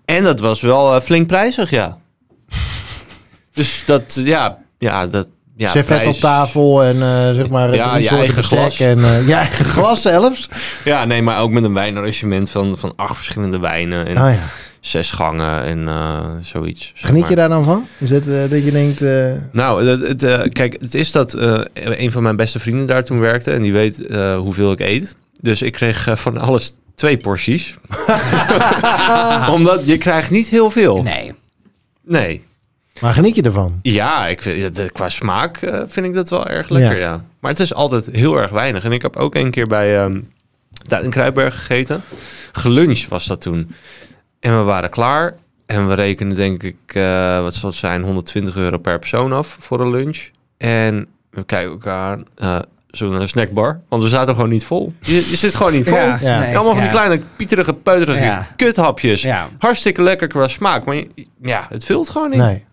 Speaker 2: En dat was wel eh, flink prijzig,
Speaker 3: (laughs)
Speaker 2: ja. dus dat, ja, ja, dat, ja.
Speaker 3: Servet
Speaker 2: prijs-
Speaker 3: op tafel en eh, zeg maar
Speaker 2: Ja,
Speaker 3: drie
Speaker 2: je
Speaker 3: soorten
Speaker 2: eigen
Speaker 3: bestek
Speaker 2: glas.
Speaker 3: En, eh, (laughs) je eigen glas zelfs.
Speaker 2: Ja, nee, maar ook met een wijnarrangement van, van acht verschillende wijnen en
Speaker 3: Ah, ja.
Speaker 2: zes gangen en eh, zoiets. zeg
Speaker 3: Geniet
Speaker 2: maar.
Speaker 3: je daar dan van? Is het eh, dat je denkt... eh,
Speaker 2: Nou, het, het, eh, kijk, het is dat eh, een van mijn beste vrienden daar toen werkte en die weet eh, hoeveel ik eet. Dus ik kreeg eh, van alles twee porties. Omdat je krijgt niet heel veel.
Speaker 1: Nee.
Speaker 2: Nee.
Speaker 3: maar geniet je ervan?
Speaker 2: Ja, ik vind, dat, eh, qua smaak eh, vind ik dat wel erg lekker, ja. Maar het is altijd heel erg weinig. En ik heb ook een keer bij ehm Tuin en Kruidberg gegeten. Geluncht was dat toen. En we waren klaar. En we rekenen denk ik, eh, wat zal het zijn, 120 euro per persoon af voor een lunch. En we kijken elkaar, eh zo naar een snackbar. Want we zaten gewoon niet vol. Je, je zit gewoon niet vol.
Speaker 1: (laughs) Ja,
Speaker 3: Ja.
Speaker 1: nee,
Speaker 2: Allemaal van die
Speaker 1: ja.
Speaker 2: kleine, pieterige, peuterige
Speaker 1: Ja.
Speaker 2: kuthapjes.
Speaker 1: Ja.
Speaker 2: Hartstikke lekker qua smaak. Maar je- ja, het vult gewoon niet.
Speaker 3: Nee.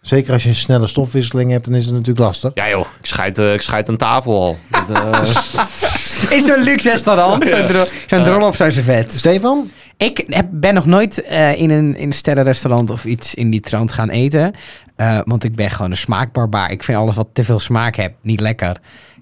Speaker 3: Zeker als je een snelle stofwisseling hebt, dan is het natuurlijk lastig.
Speaker 2: Ja joh, ik scheid, eh, ik scheid aan tafel al. (laughs) Dat, eh,
Speaker 1: Is zo'n luxe
Speaker 2: (laughs)
Speaker 1: restaurant. Zo'n drol- Zo'n drol op zo'n servet.
Speaker 3: Stefan?
Speaker 1: Ik heb, ben nog nooit eh, in, een, in een sterrenrestaurant of iets in die trant gaan eten. Eh, want ik ben gewoon een smaakbarbaar. Ik vind alles wat te veel smaak heeft niet lekker.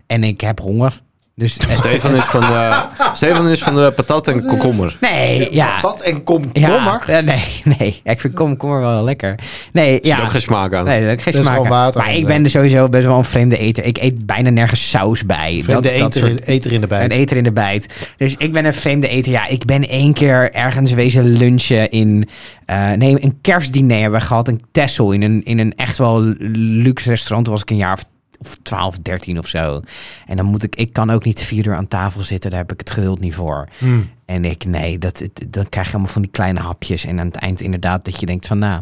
Speaker 1: En ik heb honger. Dus het-
Speaker 2: (laughs) Stefan, is van, eh, Stefan is van de patat en komkommer.
Speaker 1: nee, ja.
Speaker 3: Dat en kom,
Speaker 1: ja, eh, nee, (laughs) nee. Ja, Ik vind komkommer wel lekker. Nee,
Speaker 2: Er zit
Speaker 1: ja.
Speaker 2: ook geen smaak aan.
Speaker 1: Nee, dat heb ik geen
Speaker 3: Dat is
Speaker 1: smaak.
Speaker 3: gewoon
Speaker 1: aan.
Speaker 3: water
Speaker 1: maar
Speaker 3: en,
Speaker 1: ik
Speaker 3: eh,
Speaker 1: ben er sowieso best wel een vreemde eter. Ik eet bijna nergens saus bij.
Speaker 3: Vreemde
Speaker 1: dat, dat
Speaker 3: eter,
Speaker 1: soort e-
Speaker 3: in, eter in de bijt.
Speaker 1: Een eter in de bijt. Dus ik ben een vreemde eter. Ja, ik ben één keer ergens wezen lunchen in... eh, nee, een kerstdiner hebben we gehad. Een Tessel in een, in een echt wel luxe restaurant. Toen was ik een jaar of, of 12, 13 of zo. En dan moet ik... Ik kan ook niet vier uur aan tafel zitten. Daar heb ik het geduld niet voor.
Speaker 3: Hmm.
Speaker 1: En ik, nee, dat, het- dan krijg je allemaal van die kleine hapjes. En aan het eind inderdaad dat je denkt van... Nou,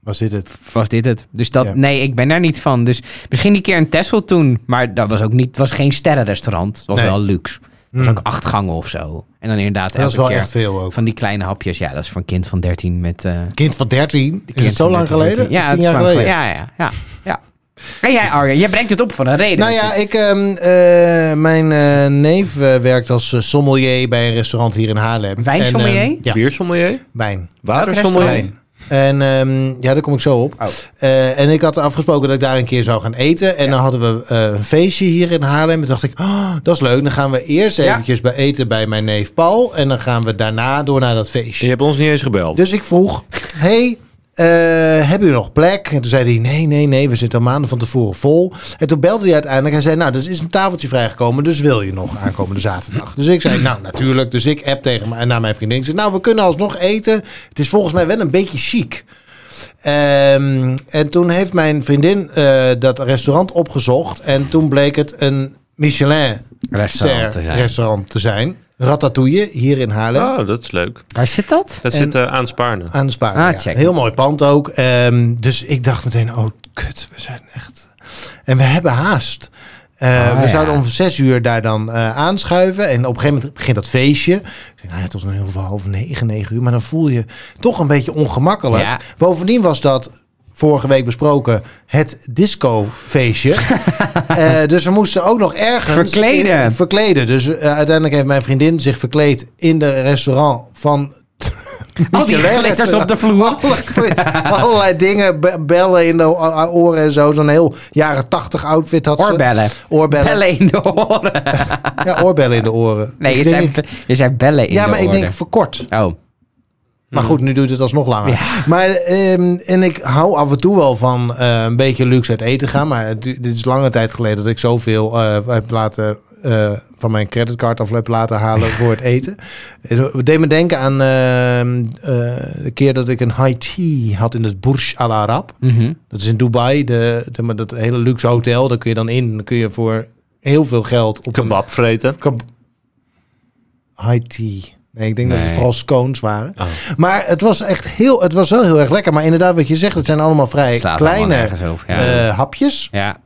Speaker 3: Was dit het?
Speaker 1: was dit het? Dus dat...
Speaker 3: Ja.
Speaker 1: Nee, ik ben daar niet van. Dus misschien die keer een Tessel toen. Maar dat was ook niet... was geen sterrenrestaurant. Het was
Speaker 3: Nee.
Speaker 1: wel luxe. Dat
Speaker 3: Hmm.
Speaker 1: was ook acht gangen of zo. En dan inderdaad
Speaker 3: Dat is
Speaker 1: elke
Speaker 3: wel
Speaker 1: keer
Speaker 3: echt veel ook.
Speaker 1: van die kleine hapjes. Ja, dat is voor een kind van 13 met... eh
Speaker 3: Kind van 13. Is
Speaker 1: kind
Speaker 3: het zo
Speaker 1: van
Speaker 3: lang
Speaker 1: 13,
Speaker 3: geleden?
Speaker 1: 13. Ja,
Speaker 3: is
Speaker 1: het
Speaker 3: tien
Speaker 1: is
Speaker 3: jaar
Speaker 1: lang
Speaker 3: geleden.
Speaker 1: geleden. Ja, ja, ja. ja. En jij, Arjen, jij brengt het op voor een reden.
Speaker 3: Nou ja,
Speaker 1: natuurlijk.
Speaker 3: ik, ehm, eh, mijn eh, neef eh, werkt als eh, sommelier bij een restaurant hier in Haarlem.
Speaker 1: Wijnsommelier?
Speaker 3: En, ehm, ja,
Speaker 2: Biersommelier?
Speaker 3: wijn.
Speaker 2: Watersommelier?
Speaker 1: restaurant?
Speaker 3: En ehm, ja, daar kom ik zo op.
Speaker 1: Oh.
Speaker 3: Eh, en ik had afgesproken dat ik daar een keer zou gaan eten. En dan hadden we eh, een feestje hier in Haarlem. En toen dacht ik, oh, dat is leuk. Dan gaan we eerst
Speaker 1: Ja.
Speaker 3: eventjes bij eten bij mijn neef Paul. En dan gaan we daarna door naar dat feestje.
Speaker 2: Je hebt ons niet eens gebeld.
Speaker 3: Dus ik vroeg, hey, eh, hebben jullie nog plek? En toen zei hij, nee, nee, nee, we zitten al maanden van tevoren vol. En toen belde hij uiteindelijk. Hij zei, nou, er is een tafeltje vrijgekomen, dus wil je nog aankomende zaterdag? Dus ik zei, nou, natuurlijk. Dus ik app tegen mijn, naar mijn vriendin. Ik zei, nou, we kunnen alsnog eten. Het is volgens mij wel een beetje chic. Ehm, en toen heeft mijn vriendin eh, dat restaurant opgezocht. En toen bleek het een Michelin-restaurant
Speaker 1: Restaurant te zijn.
Speaker 3: restaurant te zijn. Ratatouille, hier in Haarlem.
Speaker 2: Oh, dat is leuk.
Speaker 1: Waar zit dat?
Speaker 2: Dat
Speaker 3: En-
Speaker 2: zit eh, aan Spaarne.
Speaker 3: Aan de Spaar.
Speaker 1: Ah,
Speaker 3: ja.
Speaker 1: check.
Speaker 3: Heel mooi pand ook. Ehm, dus ik dacht meteen, oh kut, we zijn echt... En we hebben haast. Eh,
Speaker 1: Ah,
Speaker 3: we
Speaker 1: ja.
Speaker 3: zouden om zes uur daar dan eh, aanschuiven. En op een gegeven moment begint dat feestje. Ik zeg, nou ja, tot in ieder geval half negen, negen uur. Maar dan voel je toch een beetje ongemakkelijk.
Speaker 1: Ja.
Speaker 3: Bovendien was dat, vorige week besproken, het
Speaker 1: (laughs)
Speaker 3: discofeestje. Eh, dus we moesten ook nog ergens...
Speaker 1: Verkleden.
Speaker 3: in- verkleden. Dus eh, uiteindelijk heeft mijn vriendin zich verkleed in de restaurant van...
Speaker 1: Al die
Speaker 3: Michelin
Speaker 1: glitters
Speaker 3: restaurant.
Speaker 1: op de
Speaker 3: (laughs)
Speaker 1: vloer.
Speaker 3: Frit, allerlei dingen, be- bellen in de o- o- oren en zo. Zo'n heel jaren tachtig outfit had ze.
Speaker 1: Oorbellen.
Speaker 3: Oorbellen.
Speaker 1: Bellen in de oren.
Speaker 3: Ja, oorbellen in de oren.
Speaker 1: Nee, je
Speaker 3: Ik
Speaker 1: zei,
Speaker 3: denk niet-
Speaker 1: je zei bellen in
Speaker 3: ja,
Speaker 1: de
Speaker 3: maar
Speaker 1: oren. Mm.
Speaker 3: ik denk verkort.
Speaker 1: Oh,
Speaker 3: Maar goed, nu duurt het alsnog langer. Maar, ehm, en ik hou af en toe wel van eh, een beetje luxe uit eten gaan. Maar het du- dit is lange tijd geleden dat ik zoveel eh heb laten eh, van mijn creditcard af heb laten halen voor het eten.
Speaker 1: (laughs)
Speaker 3: Het deed me denken aan eh, eh, de keer dat ik een high tea had in het Burj Al Arab.
Speaker 1: Mhm.
Speaker 3: Dat is in Dubai, de, zeg maar, dat hele luxe hotel. Daar kun je dan in, dan kun je voor heel veel geld op een
Speaker 2: Kebab vreten.
Speaker 3: kab- high tea. Nee, ik denk dat het
Speaker 1: Nee.
Speaker 3: vooral scones waren.
Speaker 2: Oh.
Speaker 3: Maar het was echt heel, het was wel heel erg lekker. Maar inderdaad, wat je zegt, het zijn allemaal vrij
Speaker 1: Het slaat allemaal
Speaker 3: kleine
Speaker 1: nergens over. Ja.
Speaker 3: eh hapjes.
Speaker 1: ja.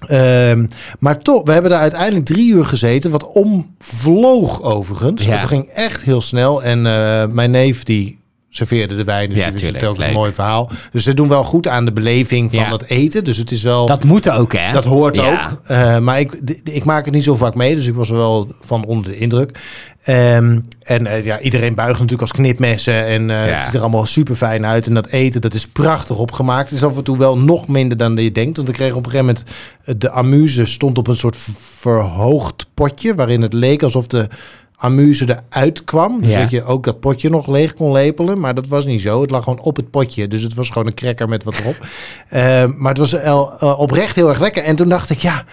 Speaker 3: Ehm, maar toch, we hebben daar uiteindelijk drie uur gezeten, wat omvloog overigens.
Speaker 1: Ja.
Speaker 3: Het ging echt heel snel. En eh, mijn neef die serveerde de wijn, dus
Speaker 1: Ja,
Speaker 3: die
Speaker 1: tuurlijk,
Speaker 3: vertelt een
Speaker 1: leuk.
Speaker 3: mooi verhaal. Dus ze doen wel goed aan de beleving van
Speaker 1: Ja.
Speaker 3: het eten. Dus het is wel, dat,
Speaker 1: Dat moet ook, hè?
Speaker 3: hoort
Speaker 1: Ja.
Speaker 3: ook. Eh, maar ik, d- ik maak het niet zo vaak mee, dus ik was er wel van onder de indruk. Ehm, en eh, ja, iedereen buigt natuurlijk als knipmessen en eh,
Speaker 1: Ja.
Speaker 3: het ziet er allemaal super fijn uit. En dat eten, dat is prachtig opgemaakt. Het is af en toe wel nog minder dan je denkt. Want ik kreeg op een gegeven moment eh, de amuse stond op een soort v- verhoogd potje. Waarin het leek alsof de amuse eruit kwam. Dus
Speaker 1: Ja.
Speaker 3: dat je ook dat potje nog leeg kon lepelen. Maar dat was niet zo. Het lag gewoon op het potje. Dus het was gewoon een cracker met wat
Speaker 1: (laughs)
Speaker 3: erop. Eh, maar het was el- eh, oprecht heel erg lekker. En toen dacht ik, ja...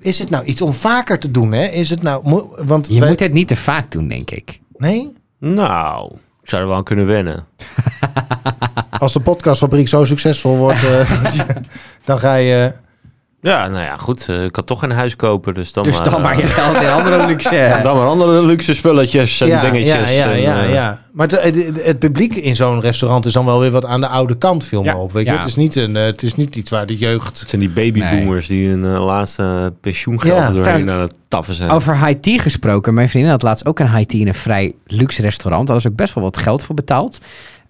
Speaker 3: Is het nou iets om vaker te doen? Hè? Is het nou. mo- Want
Speaker 1: Je
Speaker 3: wij-
Speaker 1: moet het niet te vaak doen, denk ik.
Speaker 3: Nee?
Speaker 2: Nou, ik zou er wel aan kunnen wennen.
Speaker 3: Als de podcastfabriek zo succesvol wordt,
Speaker 1: (laughs)
Speaker 3: eh, dan ga je.
Speaker 2: Ja, nou ja, goed. eh, Ik kan toch een huis kopen, dus dan
Speaker 1: Dus
Speaker 2: maar...
Speaker 1: dan maar
Speaker 3: (laughs)
Speaker 1: je
Speaker 2: eh,
Speaker 1: geld in andere luxe.
Speaker 2: dan maar andere luxe spulletjes en dingetjes.
Speaker 3: Ja, ja,
Speaker 2: en,
Speaker 3: ja,
Speaker 2: eh,
Speaker 3: ja. Maar het, het- het publiek in zo'n restaurant is dan wel weer wat aan de oude kant, viel me
Speaker 1: Ja.
Speaker 3: op. Weet je?
Speaker 1: Ja.
Speaker 3: Het, is niet een, eh, het is niet iets waar de jeugd.
Speaker 2: Het zijn die babyboomers die hun eh, laatste eh, pensioengeld
Speaker 3: Ja,
Speaker 2: er doorheen
Speaker 1: trouwens-
Speaker 2: aan het taffen zijn.
Speaker 1: Over high tea gesproken. Mijn vriendin had laatst ook een high tea in een vrij luxe restaurant. Daar hadden ze ook best wel wat geld voor betaald.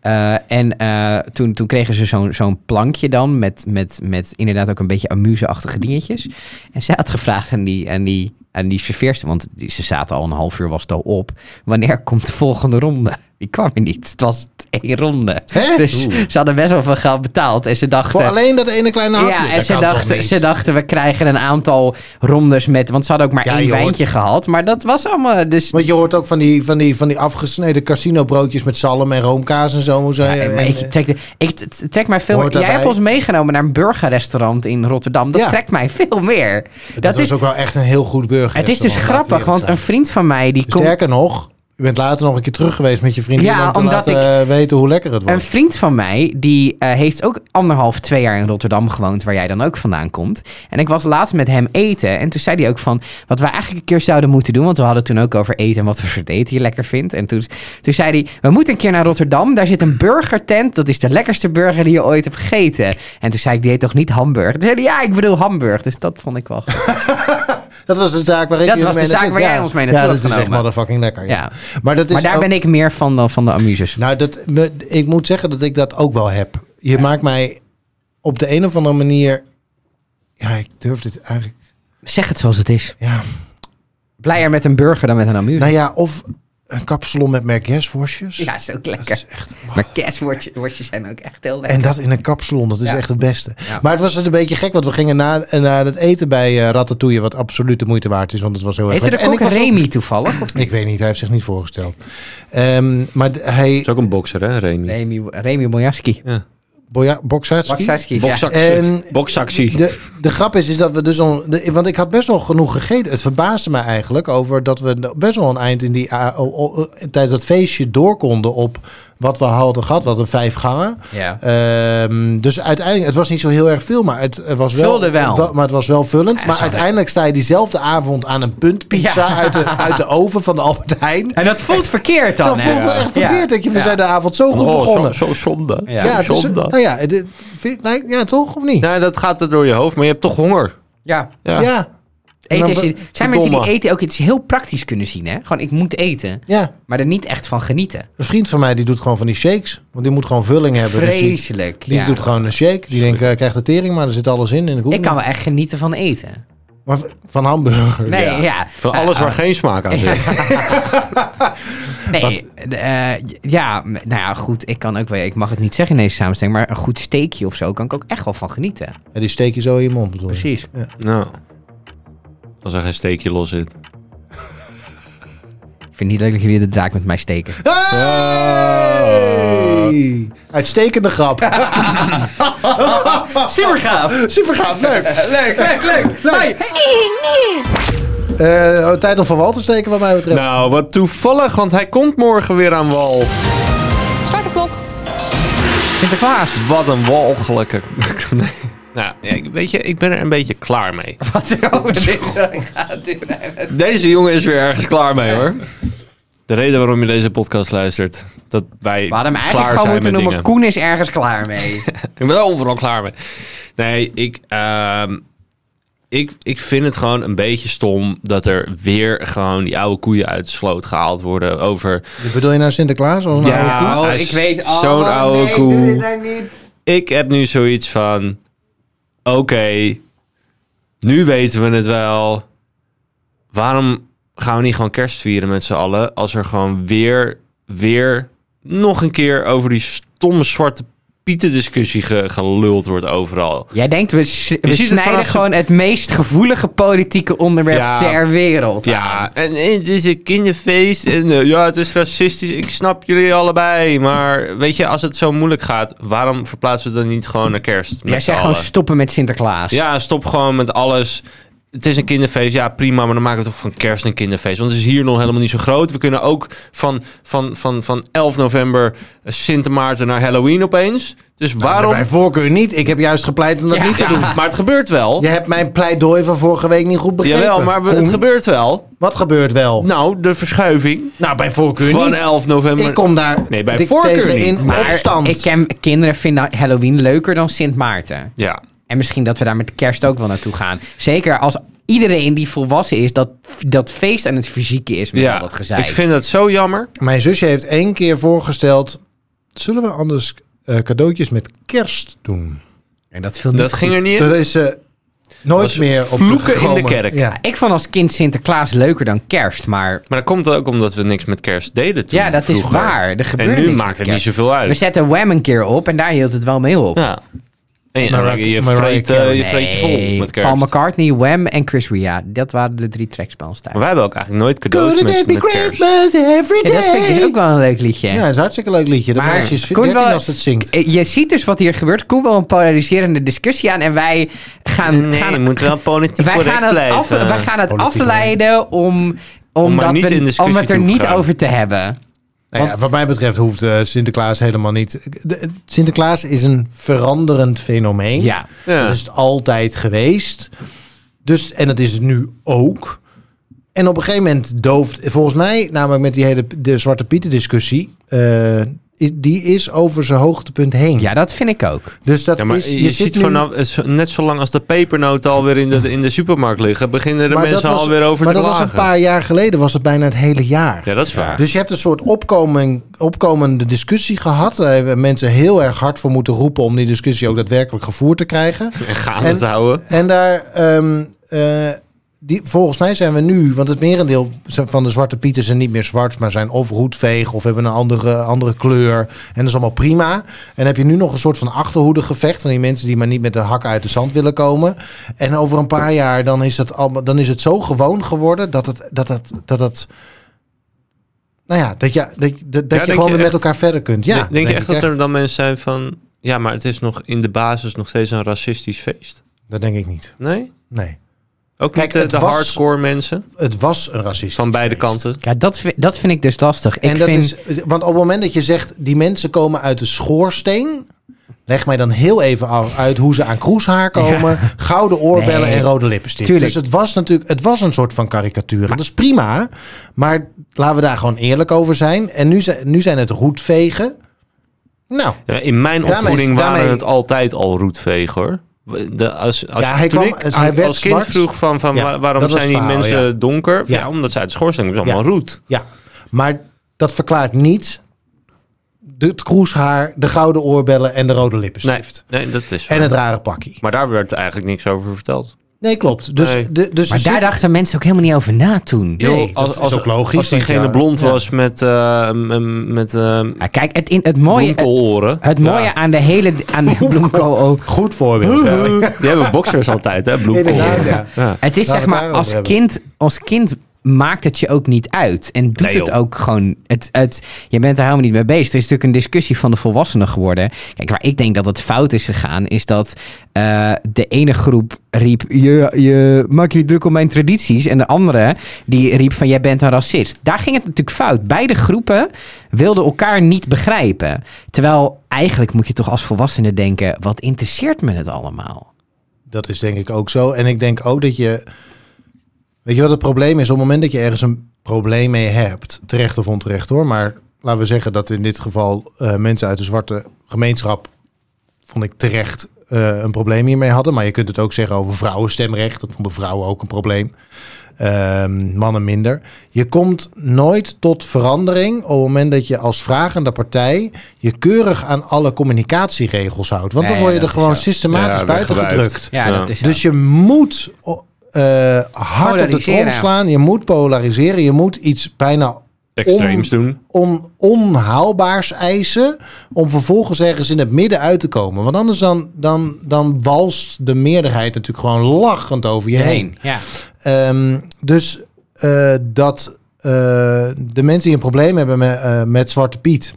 Speaker 1: Eh, en eh, toen, toen kregen ze zo'n zo'n plankje dan met, met, met inderdaad ook een beetje amuse-achtige dingetjes. En zij had gevraagd aan die, aan die, aan die serveerster, want die- ze zaten al een half uur, was het al op. Wanneer komt de volgende ronde? Die kwam er niet. Het was één ronde.
Speaker 3: Hè?
Speaker 1: Dus ze hadden best wel veel geld betaald. En ze
Speaker 3: Voor
Speaker 1: dachten,
Speaker 3: alleen dat ene kleine hapje.
Speaker 1: ja,
Speaker 3: Nou, Dat
Speaker 1: en ze
Speaker 3: kan toch
Speaker 1: dachten,
Speaker 3: niet?
Speaker 1: ze dachten, we krijgen een aantal rondes met... Want ze hadden ook maar
Speaker 3: Ja,
Speaker 1: één
Speaker 3: je hoort-
Speaker 1: wijntje gehad. Maar dat was allemaal... Dus,
Speaker 3: Want je hoort ook van die, van die, van die afgesneden casinobroodjes met zalm en roomkaas en zo. hoe zo-
Speaker 1: Ja, maar
Speaker 3: en,
Speaker 1: ik,
Speaker 3: eh,
Speaker 1: trek de- ik t- t- trek mij veel
Speaker 3: Hoort
Speaker 1: Jij
Speaker 3: daarbij.
Speaker 1: hebt ons meegenomen naar een burgerrestaurant in Rotterdam. Dat
Speaker 3: Ja.
Speaker 1: trekt mij veel meer.
Speaker 3: dat
Speaker 1: Dat,
Speaker 3: was
Speaker 1: is,
Speaker 3: ook wel echt een heel goed burger.
Speaker 1: het is dus grappig, want een vriend van mij... die komt.
Speaker 3: Sterker nog, je bent later nog een keer terug geweest met je vrienden
Speaker 1: Ja,
Speaker 3: om te
Speaker 1: omdat
Speaker 3: laten eh, weten hoe lekker het was.
Speaker 1: Een vriend van mij, die eh, heeft ook anderhalf, twee jaar in Rotterdam gewoond, waar jij dan ook vandaan komt. En ik was laatst met hem eten. En toen zei hij ook van, wat wij eigenlijk een keer zouden moeten doen, want we hadden toen ook over eten en wat voor soort eten je lekker vindt. En toen, toen zei hij, we moeten een keer naar Rotterdam. Daar zit een burgertent, dat is de lekkerste burger die je ooit hebt gegeten. En toen zei ik, die heet toch niet Hamburg? Toen zei hij, ja, ik bedoel Hamburg. Dus dat vond ik wel goed.
Speaker 3: Dat was de zaak waar ik
Speaker 1: Dat
Speaker 3: jullie
Speaker 1: was de
Speaker 3: mee
Speaker 1: zaak
Speaker 3: naartoe-
Speaker 1: waar jij ons mee naartoe
Speaker 3: Ja,
Speaker 1: had
Speaker 3: dat is echt
Speaker 1: genomen.
Speaker 3: motherfucking lekker. Ja.
Speaker 1: Ja.
Speaker 3: Maar, dat is
Speaker 1: Maar daar
Speaker 3: ook-
Speaker 1: ben ik meer van dan van de amuses.
Speaker 3: Nou, dat, me- ik moet zeggen dat ik dat ook wel heb. Je maakt mij op de een of andere manier... Ja, ik durf dit eigenlijk...
Speaker 1: Zeg het zoals het is.
Speaker 3: Ja.
Speaker 1: Blijer met een burger dan met een amuse.
Speaker 3: Nou ja, of een kapsalon met merguezworstjes.
Speaker 1: ja, is ook
Speaker 3: Dat
Speaker 1: lekker.
Speaker 3: is echt...
Speaker 1: Maar kerstworstjes Oh, zijn ook echt heel lekker.
Speaker 3: En dat in een kapsalon, dat is
Speaker 1: Ja.
Speaker 3: echt het beste.
Speaker 1: Ja.
Speaker 3: Maar het was dus een beetje gek, want we gingen na, na het eten bij eh, Ratatouille... wat absoluut de moeite waard is, want het was heel erg
Speaker 1: Heette de
Speaker 3: lekker. En
Speaker 1: kok
Speaker 3: ik was ook-
Speaker 1: Remy toevallig? Of
Speaker 3: Ik weet niet, hij heeft zich niet voorgesteld. Ehm, maar d- hij...
Speaker 2: is ook een bokser, hè, Remy?
Speaker 1: Remy, Remy Bojaski.
Speaker 3: Boja, Boksarski?
Speaker 1: Boksarski, ja.
Speaker 2: Boksactie.
Speaker 3: En-
Speaker 2: Boksactie.
Speaker 3: De, de grap is, is dat we dus al. de- want ik had best wel genoeg gegeten. Het verbaasde me eigenlijk over dat we best wel een eind in die. a- o- o- tijdens dat feestje door konden op wat we hadden gehad. Wat een vijf gangen.
Speaker 1: Ja.
Speaker 3: Ehm, dus uiteindelijk, het was niet zo heel erg veel, maar het, eh, was wel,
Speaker 1: Vulde wel.
Speaker 3: Maar het was wel vullend.
Speaker 1: Ja,
Speaker 3: maar
Speaker 1: zo lekker.
Speaker 3: uiteindelijk sta je diezelfde avond aan een puntpizza
Speaker 1: Ja.
Speaker 3: uit, de, uit de oven van de Albert Heijn.
Speaker 1: En dat voelt verkeerd dan,
Speaker 3: eh, Dat
Speaker 1: hè?
Speaker 3: voelt wel echt verkeerd dat je we
Speaker 1: Ja.
Speaker 3: zijn de avond zo goed
Speaker 2: Oh, zo,
Speaker 3: begonnen.
Speaker 2: zo zonde.
Speaker 1: Ja.
Speaker 2: Ja,
Speaker 3: ja, het is,
Speaker 2: zonde.
Speaker 3: nou ja, de- vind- nou, ja, toch of niet?
Speaker 2: Nou, dat gaat er door je hoofd, maar je hebt toch honger.
Speaker 1: Ja.
Speaker 2: Ja.
Speaker 3: ja.
Speaker 1: Eten is,
Speaker 3: En dan-
Speaker 1: zijn mensen die
Speaker 2: verdomme.
Speaker 1: eten ook iets heel praktisch kunnen zien, hè? Gewoon, ik moet eten,
Speaker 3: ja.
Speaker 1: maar er niet echt van genieten.
Speaker 3: Een vriend van mij die doet gewoon van die shakes. Want die moet gewoon vulling hebben. Dus die-
Speaker 1: Vreselijk.
Speaker 3: die
Speaker 1: ja.
Speaker 3: doet gewoon een shake. Die denkt, eh, krijgt de tering, maar er zit alles in. in de koek.
Speaker 1: Ik kan wel echt genieten van eten.
Speaker 3: Maar v- van hamburger.
Speaker 1: Nee, ja.
Speaker 2: Ja. Van alles waar geen smaak aan zit.
Speaker 1: Nee, eh, ja, m- nou ja, goed, ik kan ook wel, ik mag het niet zeggen in deze samenstelling, maar een goed steekje of zo kan ik ook echt wel van genieten.
Speaker 3: En die steek je zo in je mond. Bedoel je.
Speaker 1: Precies.
Speaker 2: Nou, als er geen steekje los
Speaker 1: Ik
Speaker 2: zit.
Speaker 1: vind het niet leuk dat jullie de draak met mij steken.
Speaker 3: Hey! Uitstekende grap.
Speaker 1: Super gaaf!
Speaker 3: Super gaaf, leuk.
Speaker 1: Eh, Leuk, leuk, leuk.
Speaker 3: Leuk.
Speaker 1: Hoi.
Speaker 3: Eh, Eh, tijd om van wal te steken, wat mij betreft.
Speaker 2: Nou, wat toevallig, want hij komt morgen weer aan wal.
Speaker 4: Start de klok.
Speaker 1: Sinterklaas.
Speaker 2: Wat een walgelijke... nee. (laughs) Nou, ja, ik- weet je, ik ben er een beetje klaar mee.
Speaker 1: Wat er over is. Ik ga dit-
Speaker 2: Deze jongen is weer ergens klaar mee, (laughs) hoor. De reden waarom je deze podcast luistert, dat wij
Speaker 1: We hadden hem
Speaker 2: klaar
Speaker 1: eigenlijk gewoon
Speaker 2: zijn met
Speaker 1: moeten noemen.
Speaker 2: dingen.
Speaker 1: Koen is ergens klaar
Speaker 2: (laughs)
Speaker 1: mee.
Speaker 2: Ik ben er overal klaar mee. Nee, ik, ehm, ik, ik vind het gewoon een beetje stom dat er weer gewoon die oude koeien uit de sloot gehaald worden over...
Speaker 3: Bedoel je nou Sinterklaas? Of nou?
Speaker 2: Ja,
Speaker 1: Oh,
Speaker 2: hij
Speaker 1: ik
Speaker 2: is
Speaker 1: weet al.
Speaker 2: Zo'n oude
Speaker 1: nee, doe dit
Speaker 2: koe.
Speaker 1: nou niet.
Speaker 2: Ik heb nu zoiets van... Oké, nu weten we het wel. Waarom gaan we niet gewoon kerst vieren met z'n allen... als er gewoon weer, weer nog een keer over die stomme zwarte pieten discussie ge- geluld wordt overal...
Speaker 1: Jij denkt, we, s- we
Speaker 2: ziet het
Speaker 1: snijden
Speaker 2: vanaf-
Speaker 1: gewoon het meest gevoelige politieke onderwerp
Speaker 2: Ja.
Speaker 1: ter wereld.
Speaker 2: Ja, en het is een kinderfeest. En eh, ja, het is racistisch. Ik snap jullie allebei. Maar weet je, als het zo moeilijk gaat, waarom verplaatsen we het dan niet gewoon naar kerst?
Speaker 1: Jij
Speaker 2: met z'n
Speaker 1: zegt gewoon
Speaker 2: allen?
Speaker 1: stoppen met Sinterklaas.
Speaker 2: Ja, stop gewoon met alles. Het is een kinderfeest, ja prima, maar dan maken we toch van kerst een kinderfeest. Want het is hier nog helemaal niet zo groot. We kunnen ook van, van, van, van 11 november eh, Sint Maarten naar Halloween opeens. Dus
Speaker 3: Nou,
Speaker 2: waarom...
Speaker 3: Bij voorkeur niet. Ik heb juist gepleit om dat
Speaker 1: Ja.
Speaker 3: niet te doen.
Speaker 2: Maar het gebeurt wel.
Speaker 3: Je hebt mijn pleidooi van vorige week niet goed begrepen.
Speaker 2: Jawel, maar we-
Speaker 3: Kom,
Speaker 2: het gebeurt wel.
Speaker 3: Wat gebeurt wel?
Speaker 2: Nou, de verschuiving
Speaker 3: Nou, bij voorkeur
Speaker 2: van
Speaker 3: niet.
Speaker 2: 11 november...
Speaker 3: Ik kom daar
Speaker 2: Nee, bij
Speaker 3: dik
Speaker 2: voorkeur
Speaker 3: tegen
Speaker 2: niet.
Speaker 3: in
Speaker 1: Maar
Speaker 3: opstand.
Speaker 1: ik ken, kinderen vinden Halloween leuker dan Sint Maarten.
Speaker 2: Ja,
Speaker 1: En misschien dat we daar met kerst ook wel naartoe gaan. Zeker als iedereen die volwassen is, dat, dat feest aan het fysieke is met al dat gezeik.
Speaker 2: Ik vind dat zo jammer.
Speaker 3: Mijn zusje heeft één keer voorgesteld... zullen we anders eh, cadeautjes met kerst doen?
Speaker 1: en dat viel niet
Speaker 2: Dat ging
Speaker 1: goed.
Speaker 2: er niet in.
Speaker 3: Dat is ze nooit
Speaker 2: Was
Speaker 3: meer op
Speaker 2: vloeken in de
Speaker 3: teruggekomen.
Speaker 2: kerk.
Speaker 3: Ja.
Speaker 1: Ik vond als kind Sinterklaas leuker dan kerst, maar...
Speaker 2: Maar dat komt ook omdat we niks met kerst deden toen
Speaker 1: Ja, dat is
Speaker 2: vroeger.
Speaker 1: waar. Er gebeurde
Speaker 2: En nu
Speaker 1: niks met
Speaker 2: maakt het niet
Speaker 1: kerst.
Speaker 2: zoveel
Speaker 1: We
Speaker 2: uit.
Speaker 1: zetten Wham een keer op en daar hield het wel mee op.
Speaker 2: Ja. En je,
Speaker 3: Mariah-
Speaker 2: je,
Speaker 3: Mariah
Speaker 2: vreet, eh,
Speaker 3: Carey.
Speaker 2: je vreet je vol met kerst.
Speaker 1: Paul McCartney, Wham en Chris Ria. Dat waren de drie tracks bij ons thuis.
Speaker 2: maar wij hebben ook eigenlijk nooit cadeaus
Speaker 3: Couldn't
Speaker 2: met,
Speaker 3: it be
Speaker 2: met kerst.
Speaker 3: Christmas every
Speaker 1: Ja,
Speaker 3: day?
Speaker 1: dat vind ik dus ook wel een leuk liedje.
Speaker 3: Ja, het is een hartstikke leuk liedje. De
Speaker 1: Maar
Speaker 3: meisjes
Speaker 1: Koen
Speaker 3: 14
Speaker 1: wel-
Speaker 3: als het zingt.
Speaker 1: Eh, Je ziet dus wat hier gebeurt. Koen wil een polariserende discussie aan en wij gaan,
Speaker 2: Nee,
Speaker 1: gaan
Speaker 2: je moet wel politiek
Speaker 1: wij
Speaker 2: correct
Speaker 1: gaan het,
Speaker 2: blijven.
Speaker 1: af, wij gaan het
Speaker 3: Politiek
Speaker 1: afleiden om,
Speaker 2: Om maar
Speaker 1: omdat
Speaker 2: niet
Speaker 1: we,
Speaker 2: in discussie
Speaker 1: om het
Speaker 2: te
Speaker 1: er
Speaker 2: hoeven
Speaker 1: niet
Speaker 2: gaan.
Speaker 1: over te hebben.
Speaker 3: Nou ja, wat mij betreft hoeft eh, Sinterklaas helemaal niet... De- Sinterklaas is een veranderend fenomeen.
Speaker 1: Ja.
Speaker 2: Ja.
Speaker 3: Dat is het altijd geweest. Dus, en dat is het nu ook. En op een gegeven moment dooft, volgens mij, namelijk met die hele p- de Zwarte Pieten discussie, eh, i- die is over zijn hoogtepunt heen.
Speaker 1: ja, dat vind ik ook.
Speaker 3: Dus dat
Speaker 2: Ja, maar
Speaker 3: is,
Speaker 2: je,
Speaker 3: zit
Speaker 2: ziet
Speaker 3: nu-
Speaker 2: vanaf, het is net zo lang als de pepernoten alweer in de, in de supermarkt liggen, beginnen de
Speaker 3: maar
Speaker 2: mensen
Speaker 3: dat was-
Speaker 2: alweer over
Speaker 3: Maar
Speaker 2: te
Speaker 3: dat was
Speaker 2: klagen.
Speaker 3: een paar jaar geleden, was het bijna het hele jaar.
Speaker 2: Ja, dat is waar.
Speaker 3: Dus je hebt een soort opkoming, opkomende discussie gehad. Daar hebben mensen heel erg hard voor moeten roepen om die discussie ook daadwerkelijk gevoerd te krijgen.
Speaker 2: En gaan
Speaker 3: En-
Speaker 2: het houden.
Speaker 3: En daar, ehm, eh, die, volgens mij zijn we nu, want het merendeel van de Zwarte Pieten zijn niet meer zwart, maar zijn of roetveeg of hebben een andere, andere kleur. En dat is allemaal prima. En dan heb je nu nog een soort van achterhoede gevecht van die mensen die maar niet met de hakken uit de zand willen komen. En over een paar jaar dan is het, allemaal, dan is het zo gewoon geworden dat het. Dat het, dat het nou ja, dat je, dat, dat, dat
Speaker 2: denk
Speaker 3: je gewoon
Speaker 2: je
Speaker 3: weer
Speaker 2: echt-
Speaker 3: met elkaar verder kunt. Ja,
Speaker 2: denk, denk je echt dat er dan mensen zijn van... Ja, maar het is nog in de basis nog steeds een racistisch feest?
Speaker 3: Dat denk ik niet.
Speaker 2: Nee?
Speaker 3: Nee.
Speaker 2: Ook
Speaker 3: Kijk,
Speaker 2: niet de,
Speaker 3: het
Speaker 2: de
Speaker 3: was-
Speaker 2: hardcore mensen
Speaker 3: Het was een racistisch
Speaker 2: van beide
Speaker 3: feest.
Speaker 2: kanten?
Speaker 1: Ja, dat, vi- dat vind ik dus lastig.
Speaker 3: En
Speaker 1: ik
Speaker 3: dat
Speaker 1: vind,
Speaker 3: is, want op het moment dat je zegt, die mensen komen uit de schoorsteen. Leg mij dan heel even af uit hoe ze aan kroeshaar komen. Gouden oorbellen
Speaker 1: Nee.
Speaker 3: en rode lippenstift.
Speaker 1: Tuurlijk.
Speaker 3: Dus het was natuurlijk het was een soort van karikatuur. En dat is prima. Maar laten we daar gewoon eerlijk over zijn. En nu, zijn- nu zijn het roetvegen. Nou,
Speaker 2: Ja, in mijn
Speaker 3: Daarmee-
Speaker 2: opvoeding waren
Speaker 3: daarmee-
Speaker 2: het altijd al roetvegen hoor. De, als, als,
Speaker 3: Ja, hij
Speaker 2: toen
Speaker 3: kwam-
Speaker 2: ik
Speaker 3: dus
Speaker 2: aan-
Speaker 3: hij werd
Speaker 2: als kind
Speaker 3: zwart.
Speaker 2: vroeg van, van
Speaker 3: Ja,
Speaker 2: wa- waarom
Speaker 3: dat was
Speaker 2: zijn die
Speaker 3: het verhaal,
Speaker 2: mensen donker? Ja.
Speaker 3: Ja.
Speaker 2: omdat ze uit de schoorsteen komen. Het is
Speaker 3: Ja.
Speaker 2: allemaal roet.
Speaker 3: ja. Maar dat verklaart niet de, het kroeshaar, de gouden oorbellen en de rode
Speaker 2: Nee,
Speaker 3: lippenstift.
Speaker 2: nee, dat is
Speaker 3: En het rare pakkie.
Speaker 2: Maar daar werd eigenlijk niks over verteld.
Speaker 3: Nee, klopt. Dus,
Speaker 2: Nee.
Speaker 3: de, dus
Speaker 1: maar
Speaker 3: er
Speaker 1: daar
Speaker 3: zit-
Speaker 1: dachten mensen ook helemaal niet over na toen.
Speaker 3: Nee,
Speaker 2: Joh,
Speaker 3: dat is ook logisch,
Speaker 2: Als
Speaker 3: denk je
Speaker 2: diegene
Speaker 3: wel.
Speaker 2: blond
Speaker 3: Ja.
Speaker 2: was met, eh, m- met eh,
Speaker 1: Ja, kijk, het, in, het mooie, het,
Speaker 2: bloemkooloren.
Speaker 1: het mooie
Speaker 2: Ja.
Speaker 1: aan de hele... Aan
Speaker 2: (laughs)
Speaker 1: de bloemkool ook.
Speaker 3: Goed
Speaker 1: (laughs)
Speaker 3: voorbeeld. hè?
Speaker 2: Die hebben boxers altijd, hè? Bloemkooloren.
Speaker 3: Inderdaad, ja.
Speaker 1: Het is
Speaker 3: Laten
Speaker 1: zeg
Speaker 3: we het
Speaker 1: maar
Speaker 3: daarover
Speaker 1: als
Speaker 3: hebben.
Speaker 1: kind, als kind maakt het je ook niet uit. En doet
Speaker 2: Nee, joh.
Speaker 1: het ook gewoon... Het, het, je bent er helemaal niet mee bezig. Er is natuurlijk een discussie van de volwassenen geworden. Kijk, waar ik denk dat het fout is gegaan... is dat eh, de ene groep riep... Je, je maakt je niet druk om mijn tradities. En de andere die riep van... jij bent een racist. Daar ging het natuurlijk fout. Beide groepen wilden elkaar niet begrijpen. Terwijl eigenlijk moet je toch als volwassene denken... wat interesseert me het allemaal?
Speaker 3: Dat is denk ik ook zo. En ik denk ook dat je. Weet je wat het probleem is? Op het moment dat je ergens een probleem mee hebt, terecht of onterecht hoor, maar laten we zeggen dat in dit geval eh, mensen uit de zwarte gemeenschap, vond ik terecht, eh, een probleem hiermee hadden. Maar je kunt het ook zeggen over vrouwenstemrecht. Dat vonden vrouwen ook een probleem. Ehm, mannen minder. Je komt nooit tot verandering op het moment dat je als vragende partij je keurig aan alle communicatieregels houdt. Want
Speaker 1: Nee,
Speaker 3: dan word je
Speaker 1: dat
Speaker 3: er
Speaker 1: is
Speaker 3: gewoon
Speaker 1: zo.
Speaker 3: systematisch
Speaker 2: Ja,
Speaker 3: buiten
Speaker 2: weggebuit.
Speaker 3: gedrukt.
Speaker 1: Ja,
Speaker 2: Ja.
Speaker 1: dat is zo.
Speaker 3: Dus je moet o- eh, hard op de
Speaker 1: Polariseren.
Speaker 3: trom slaan. Je moet polariseren. Je moet iets bijna
Speaker 2: Extreems doen.
Speaker 3: on, onhaalbaars eisen. Om vervolgens ergens in het midden uit te komen. Want anders dan, dan, dan walst de meerderheid natuurlijk gewoon lachend over je heen.
Speaker 1: Ja.
Speaker 3: Ehm, dus eh, dat eh, de mensen die een probleem hebben met, eh, met Zwarte Piet.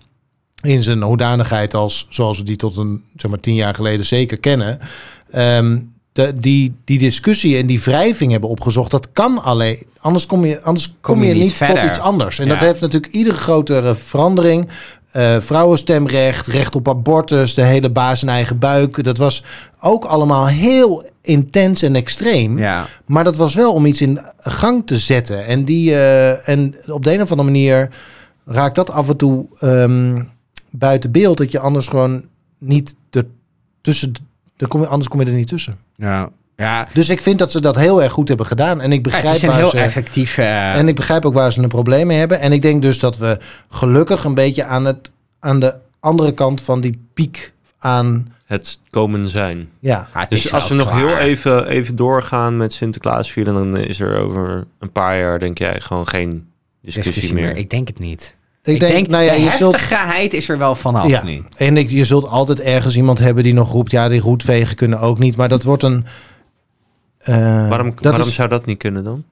Speaker 3: In zijn hoedanigheid als zoals we die tot een zeg maar tien jaar geleden zeker kennen. ehm, de, die, die discussie en die wrijving hebben opgezocht, dat kan alleen. Anders kom je, anders kom je, niet tot
Speaker 1: verder.
Speaker 3: iets anders. En
Speaker 1: Ja.
Speaker 3: dat heeft natuurlijk iedere grotere verandering. eh, vrouwenstemrecht, recht op abortus, de hele baas in eigen buik. Dat was ook allemaal heel intens en extreem.
Speaker 1: ja.
Speaker 3: Maar dat was wel om iets in gang te zetten. En, die, eh, en op de een of andere manier raakt dat af en toe ehm, buiten beeld. Dat je anders gewoon niet er tussen. er kom je- anders kom je er niet tussen.
Speaker 1: Ja. ja.
Speaker 3: Dus ik vind dat ze dat heel erg goed hebben gedaan. En ik begrijp
Speaker 1: het is een
Speaker 3: waar
Speaker 1: heel
Speaker 3: ze,
Speaker 1: effectief... eh,
Speaker 3: En ik begrijp ook waar ze een probleem mee hebben. En ik denk dus dat we gelukkig een beetje aan, het, aan de andere kant van die piek aan.
Speaker 2: Het komen zijn.
Speaker 3: Ja,
Speaker 1: ja, het is
Speaker 2: Dus als we
Speaker 1: wel
Speaker 2: nog
Speaker 1: klaar.
Speaker 2: heel even, even doorgaan met Sinterklaas vieren, dan is er over een paar jaar, denk jij, gewoon geen discussie, meer.
Speaker 1: Ik denk het niet.
Speaker 3: ik, denk, nou ja,
Speaker 1: de
Speaker 3: je zult.
Speaker 1: heftigheid is er wel vanaf
Speaker 3: ja.
Speaker 1: nu.
Speaker 3: En ik, je zult altijd ergens iemand hebben die nog roept... ja, die roetvegen kunnen ook niet. Maar dat wordt een... eh,
Speaker 2: waarom
Speaker 3: dat
Speaker 2: waarom
Speaker 3: is,
Speaker 2: zou dat niet kunnen dan?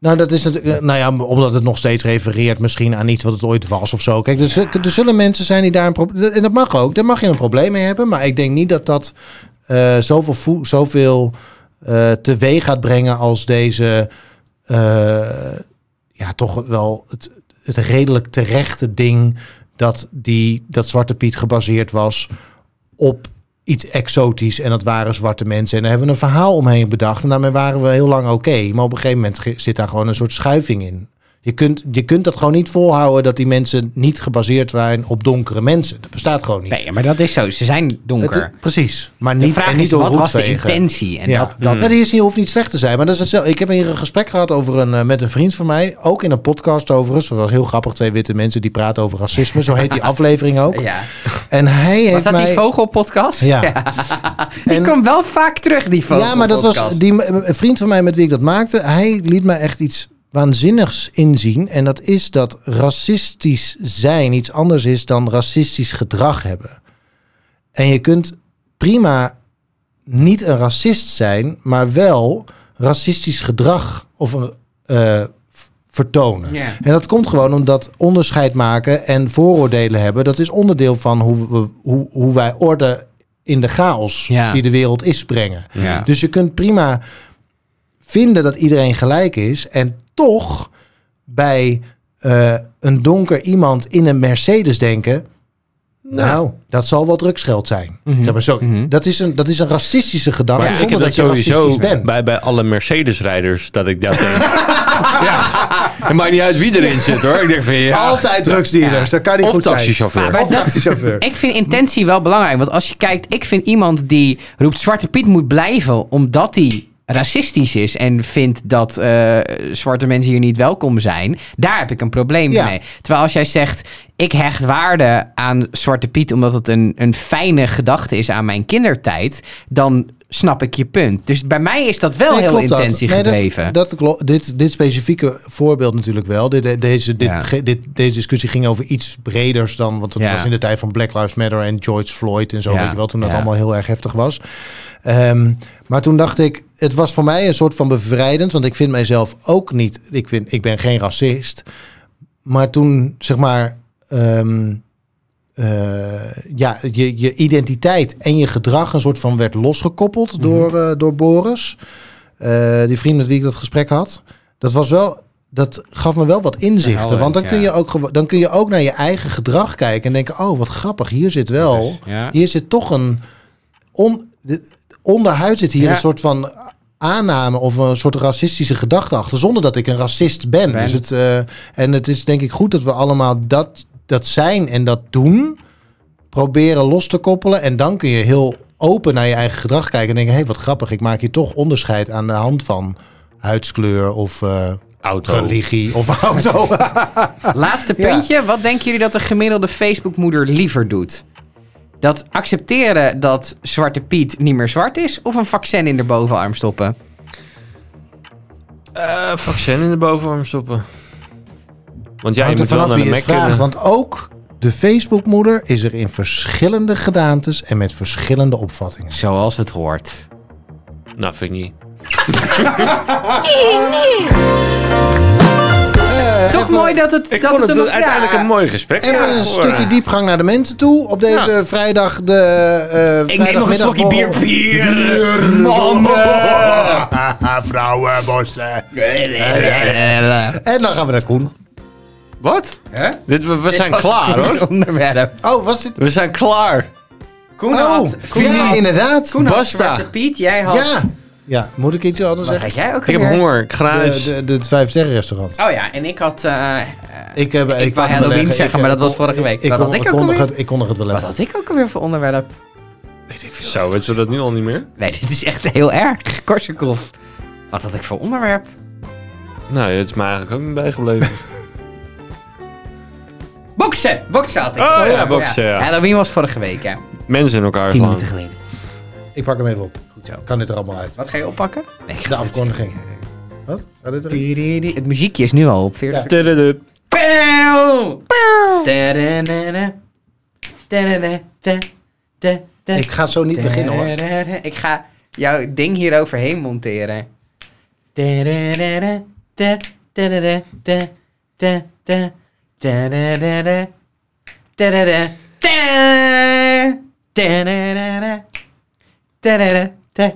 Speaker 3: nou, dat is natuurlijk, eh, nou ja, omdat het nog steeds refereert misschien aan iets wat het ooit was of zo. Kijk, er, zul- er zullen mensen zijn die daar een probleem... En dat mag ook, daar mag je een probleem mee hebben. Maar ik denk niet dat dat eh, zoveel, voe- zoveel eh, teweeg gaat brengen als deze... eh, ja, toch wel het, het redelijk terechte ding... dat, die, dat Zwarte Piet gebaseerd was op iets exotisch en dat waren zwarte mensen. En daar hebben we een verhaal omheen bedacht en daarmee waren we heel lang oké. Maar op een gegeven moment ge- zit daar gewoon een soort schuiving in. Je kunt, je kunt dat gewoon niet volhouden dat die mensen niet gebaseerd zijn op donkere mensen. Dat bestaat gewoon niet.
Speaker 1: Nee, maar dat is zo. Ze zijn
Speaker 3: Het-
Speaker 1: donker.
Speaker 3: precies. Maar
Speaker 1: de
Speaker 3: niet,
Speaker 1: vraag
Speaker 3: en niet
Speaker 1: is,
Speaker 3: door
Speaker 1: wat was de
Speaker 3: roetvegen.
Speaker 1: intentie? En
Speaker 3: ja.
Speaker 1: dat, dat,
Speaker 3: Ja, die is niet, hoeft niet slecht te zijn. Maar dat is hetzelfde. Ik heb hier een gesprek gehad over een, eh, met een vriend van mij. Ook in een podcast overigens. Dat was heel grappig. Twee witte mensen die praten over racisme.
Speaker 1: (laughs)
Speaker 3: Zo heet die aflevering ook.
Speaker 1: ja.
Speaker 3: En hij heeft
Speaker 1: Was dat
Speaker 3: mij...
Speaker 1: die vogelpodcast? (laughs)
Speaker 3: Ja.
Speaker 1: Die
Speaker 3: En-
Speaker 1: komt wel vaak terug, die vogelpodcast.
Speaker 3: Ja, maar dat was die eh, vriend van mij met wie ik dat maakte. Hij liet mij echt iets waanzinnigs inzien. En dat is dat racistisch zijn iets anders is dan racistisch gedrag hebben. En je kunt prima niet een racist zijn, maar wel racistisch gedrag of een, eh, v- vertonen.
Speaker 1: Ja.
Speaker 3: En dat komt gewoon omdat onderscheid maken en vooroordelen hebben, dat is onderdeel van hoe, we, hoe, hoe wij orde in de chaos
Speaker 1: Ja.
Speaker 3: die de wereld is brengen.
Speaker 1: Ja.
Speaker 3: Dus je kunt prima vinden dat iedereen gelijk is en toch bij eh, een donker iemand in een Mercedes denken. Nou, dat zal wel drugsgeld zijn. Zeg maar, zo, dat, is een, dat is een racistische gedachte.
Speaker 2: Mhm. Maar ik
Speaker 3: zonder
Speaker 2: heb
Speaker 3: dat,
Speaker 2: dat,
Speaker 3: je
Speaker 2: sowieso
Speaker 3: racistisch bent.
Speaker 2: bij, bij alle Mercedes-rijders dat ik dat
Speaker 3: (laughs)
Speaker 2: denk. ja. Het maakt niet uit wie erin zit hoor. Ik denk van ja.
Speaker 3: Altijd drugsdealers. Dat kan niet
Speaker 2: Of
Speaker 3: goed zijn.
Speaker 2: taxichauffeur.
Speaker 1: Maar
Speaker 3: Of taxichauffeur.
Speaker 1: Ik vind intentie wel belangrijk. Want als je kijkt, ik vind iemand die roept Zwarte Piet moet blijven omdat hij racistisch is en vindt dat eh, zwarte mensen hier niet welkom zijn, daar heb ik een probleem
Speaker 3: Ja.
Speaker 1: mee. Terwijl als jij zegt, ik hecht waarde aan Zwarte Piet omdat het een, een fijne gedachte is aan mijn kindertijd, dan snap ik je punt. Dus bij mij is dat wel
Speaker 3: Nee,
Speaker 1: heel
Speaker 3: klopt dat.
Speaker 1: intentie
Speaker 3: Nee, dat-
Speaker 1: gedreven.
Speaker 3: Dat, klopt. Dit, dit specifieke voorbeeld natuurlijk wel. Dit, de- deze, dit,
Speaker 1: Ja.
Speaker 3: ge- dit, deze discussie ging over iets breders dan... want dat
Speaker 1: Ja.
Speaker 3: was in de tijd van Black Lives Matter en George Floyd en zo.
Speaker 1: Ja.
Speaker 3: Weet je wel, toen dat
Speaker 1: Ja.
Speaker 3: allemaal heel erg heftig was. Ehm, maar toen dacht ik, het was voor mij een soort van bevrijdend, want ik vind mijzelf ook niet. Ik, vind, ik ben geen racist. Maar toen, zeg maar, ehm, eh, ja, je, je identiteit en je gedrag een soort van werd losgekoppeld
Speaker 1: Mhm.
Speaker 3: door, eh, door Boris. Eh, die vriend met wie ik dat gesprek had. Dat was wel. Dat gaf me wel wat inzichten.
Speaker 1: Helder,
Speaker 3: want dan, kun
Speaker 1: ja.
Speaker 3: je ook, gewo- dan kun je ook naar je eigen gedrag kijken. En denken: oh, wat grappig. Hier zit wel.
Speaker 1: Ja.
Speaker 3: Hier zit toch een. On, de- onderhuid zit hier
Speaker 1: Ja.
Speaker 3: een soort van aanname of een soort racistische gedachte achter, zonder dat ik een racist ben.
Speaker 1: Ben.
Speaker 3: Dus het, eh, en het is denk ik goed dat we allemaal dat, dat zijn en dat doen, proberen los te koppelen. En dan kun je heel open naar je eigen gedrag kijken en denken, hé, hey, wat grappig, ik maak hier toch onderscheid aan de hand van huidskleur of eh,
Speaker 2: Auto.
Speaker 1: (laughs)
Speaker 3: religie of auto.
Speaker 1: Laatste
Speaker 3: Ja.
Speaker 1: puntje. Wat denken jullie dat de gemiddelde Facebookmoeder liever doet? Dat accepteren dat Zwarte Piet niet meer zwart is... of een vaccin in de bovenarm stoppen?
Speaker 2: Eh, vaccin in de bovenarm stoppen. Want jij
Speaker 3: Hangt
Speaker 2: moet
Speaker 3: er
Speaker 2: wel
Speaker 3: vanaf
Speaker 2: naar de
Speaker 3: wie je
Speaker 2: Mac
Speaker 3: het vraagt.
Speaker 2: kunnen.
Speaker 3: Want ook de Facebookmoeder is er in verschillende gedaantes en met verschillende opvattingen.
Speaker 1: Zoals het hoort.
Speaker 2: Nou, vind ik niet.
Speaker 1: Toch mooi dat het...
Speaker 2: Ik
Speaker 1: dat
Speaker 2: vond het
Speaker 1: een-
Speaker 2: een- uiteindelijk
Speaker 1: ja.
Speaker 2: een mooi gesprek.
Speaker 3: Even
Speaker 2: Ja,
Speaker 3: een
Speaker 2: hoor.
Speaker 3: stukje diepgang naar de mensen toe op deze vrijdag. De, eh
Speaker 1: Ik neem nog een slokje bier. Bier. Mannen.
Speaker 3: Vrouwen, (laughs) En dan gaan we naar Koen.
Speaker 2: Wat?
Speaker 1: Hè?
Speaker 2: Dit, we we
Speaker 1: Dit
Speaker 2: zijn
Speaker 1: was
Speaker 2: klaar,
Speaker 1: Koen's
Speaker 2: hoor.
Speaker 1: onderwerp.
Speaker 3: Oh, was dit?
Speaker 2: We zijn klaar.
Speaker 1: Koen
Speaker 3: Oh,
Speaker 1: had... Koen
Speaker 3: ja,
Speaker 1: had-
Speaker 3: inderdaad.
Speaker 1: Koen had
Speaker 2: Basta.
Speaker 1: Zwarte Piet, jij had...
Speaker 3: Ja. ja, moet ik iets anders
Speaker 1: Wat
Speaker 3: zeggen?
Speaker 1: had jij ook
Speaker 2: Ik heb
Speaker 1: alweer?
Speaker 2: honger. Ik
Speaker 3: De,
Speaker 2: gruis.
Speaker 3: de, de, het Vijf Sterren Restaurant.
Speaker 1: Oh ja, en ik had... eh, eh,
Speaker 3: Ik, heb,
Speaker 1: Ik wou
Speaker 3: had
Speaker 1: Halloween
Speaker 3: beleggen.
Speaker 1: zeggen,
Speaker 3: eh,
Speaker 1: maar dat was
Speaker 3: kon-
Speaker 1: vorige week.
Speaker 3: Ik,
Speaker 1: Wat
Speaker 3: kon,
Speaker 1: had ik
Speaker 3: ik,
Speaker 1: ook
Speaker 3: kondig
Speaker 1: alweer?
Speaker 3: het, ik kondig het wel
Speaker 1: wat
Speaker 3: even.
Speaker 1: had ik ook alweer voor onderwerp?
Speaker 3: Weet ik veel.
Speaker 2: Zo, weten we dat nu al niet meer?
Speaker 1: Nee, (laughs) dit is echt heel erg. Korsakoff. Wat had ik voor onderwerp?
Speaker 2: Nou, het is me eigenlijk ook niet
Speaker 3: (laughs)
Speaker 2: bijgebleven.
Speaker 1: Boksen! Boksen had ik.
Speaker 2: Oh ja, boksen, ja.
Speaker 1: Halloween was vorige week, ja.
Speaker 2: Mensen in elkaar
Speaker 1: Tien
Speaker 2: gewoon.
Speaker 1: minuten geleden.
Speaker 3: Ik pak hem even op.
Speaker 1: Goed zo.
Speaker 3: Kan dit er allemaal uit?
Speaker 1: Wat ga je oppakken? Nee, ik ga
Speaker 3: De
Speaker 1: dit-
Speaker 3: afkondiging. Wat? Gaat dit erin?
Speaker 1: Tiriri. Het muziekje is nu al op 40 seconden.
Speaker 2: Tududu.
Speaker 1: Pauw! Tadadada. Tadadada. Ta- ta- ta-
Speaker 3: Ik ga zo niet beginnen hoor.
Speaker 1: Tadadada. Ik ga jouw ding hier overheen monteren. Tadadada. Ta- tadadada. Ta- ta- ta. Tadadada. Tadada. Ta- tadadada. Tadada. Ta- ta-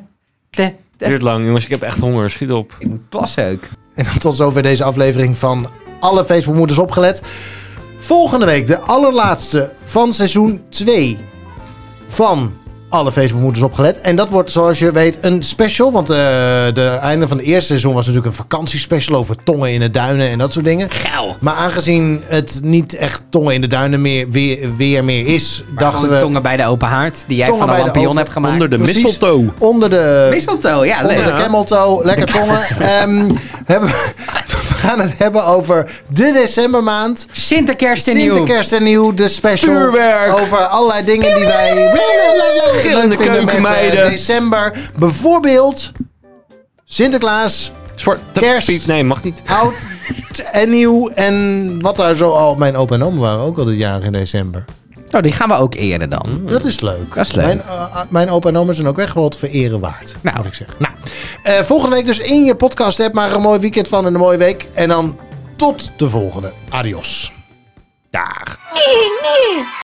Speaker 1: ta.
Speaker 2: Duurt lang, jongens. Ik heb echt honger. Schiet op.
Speaker 1: Ik moet plassen ook.
Speaker 3: En dan tot zover deze aflevering van Alle Facebookmoeders opgelet. Volgende week de allerlaatste van seizoen 2 van Alle Facebookmoeders opgelet. En dat wordt zoals je weet een special. Want eh de einde van het eerste seizoen was natuurlijk een vakantiespecial over tongen in de duinen en dat soort dingen.
Speaker 1: Geil.
Speaker 3: Maar aangezien het niet echt tongen in de duinen meer, weer, weer meer is, dachten we
Speaker 1: tongen bij de open haard die jij
Speaker 3: Tongen
Speaker 1: van een
Speaker 3: bij de
Speaker 1: lampion
Speaker 3: oven-
Speaker 1: hebt gemaakt.
Speaker 2: Onder de
Speaker 3: precies.
Speaker 2: mistletoe.
Speaker 3: onder de
Speaker 1: Mistletoe, ja, leuk.
Speaker 3: Onder de cameltoe, lekker tongen. Ehm, hebben, we- we gaan het hebben over de decembermaand.
Speaker 1: Sinterkerst en nieuw.
Speaker 3: Sinterkerst en nieuw, de special.
Speaker 1: Vuurwerk.
Speaker 3: Over allerlei dingen die wij leuk vinden met eh,
Speaker 2: keukenmeiden.
Speaker 3: december. Bijvoorbeeld Sinterklaas,
Speaker 2: Zwarte
Speaker 3: Kerst.
Speaker 2: Piet. Nee, mag niet.
Speaker 3: oud en nieuw. En wat daar zo al, mijn opa en oma waren ook altijd jarig in december.
Speaker 1: Nou, die gaan we ook eerder dan.
Speaker 3: Dat is leuk.
Speaker 1: Dat is leuk.
Speaker 3: Mijn, eh, mijn opa en oma zijn ook echt wel wat vereren waard,
Speaker 1: Nou.
Speaker 3: moet ik zeggen. Nou, eh, volgende week dus in je podcast. Heb maar een mooi weekend van en een mooie week. En dan tot de volgende. Adios.
Speaker 2: Daag.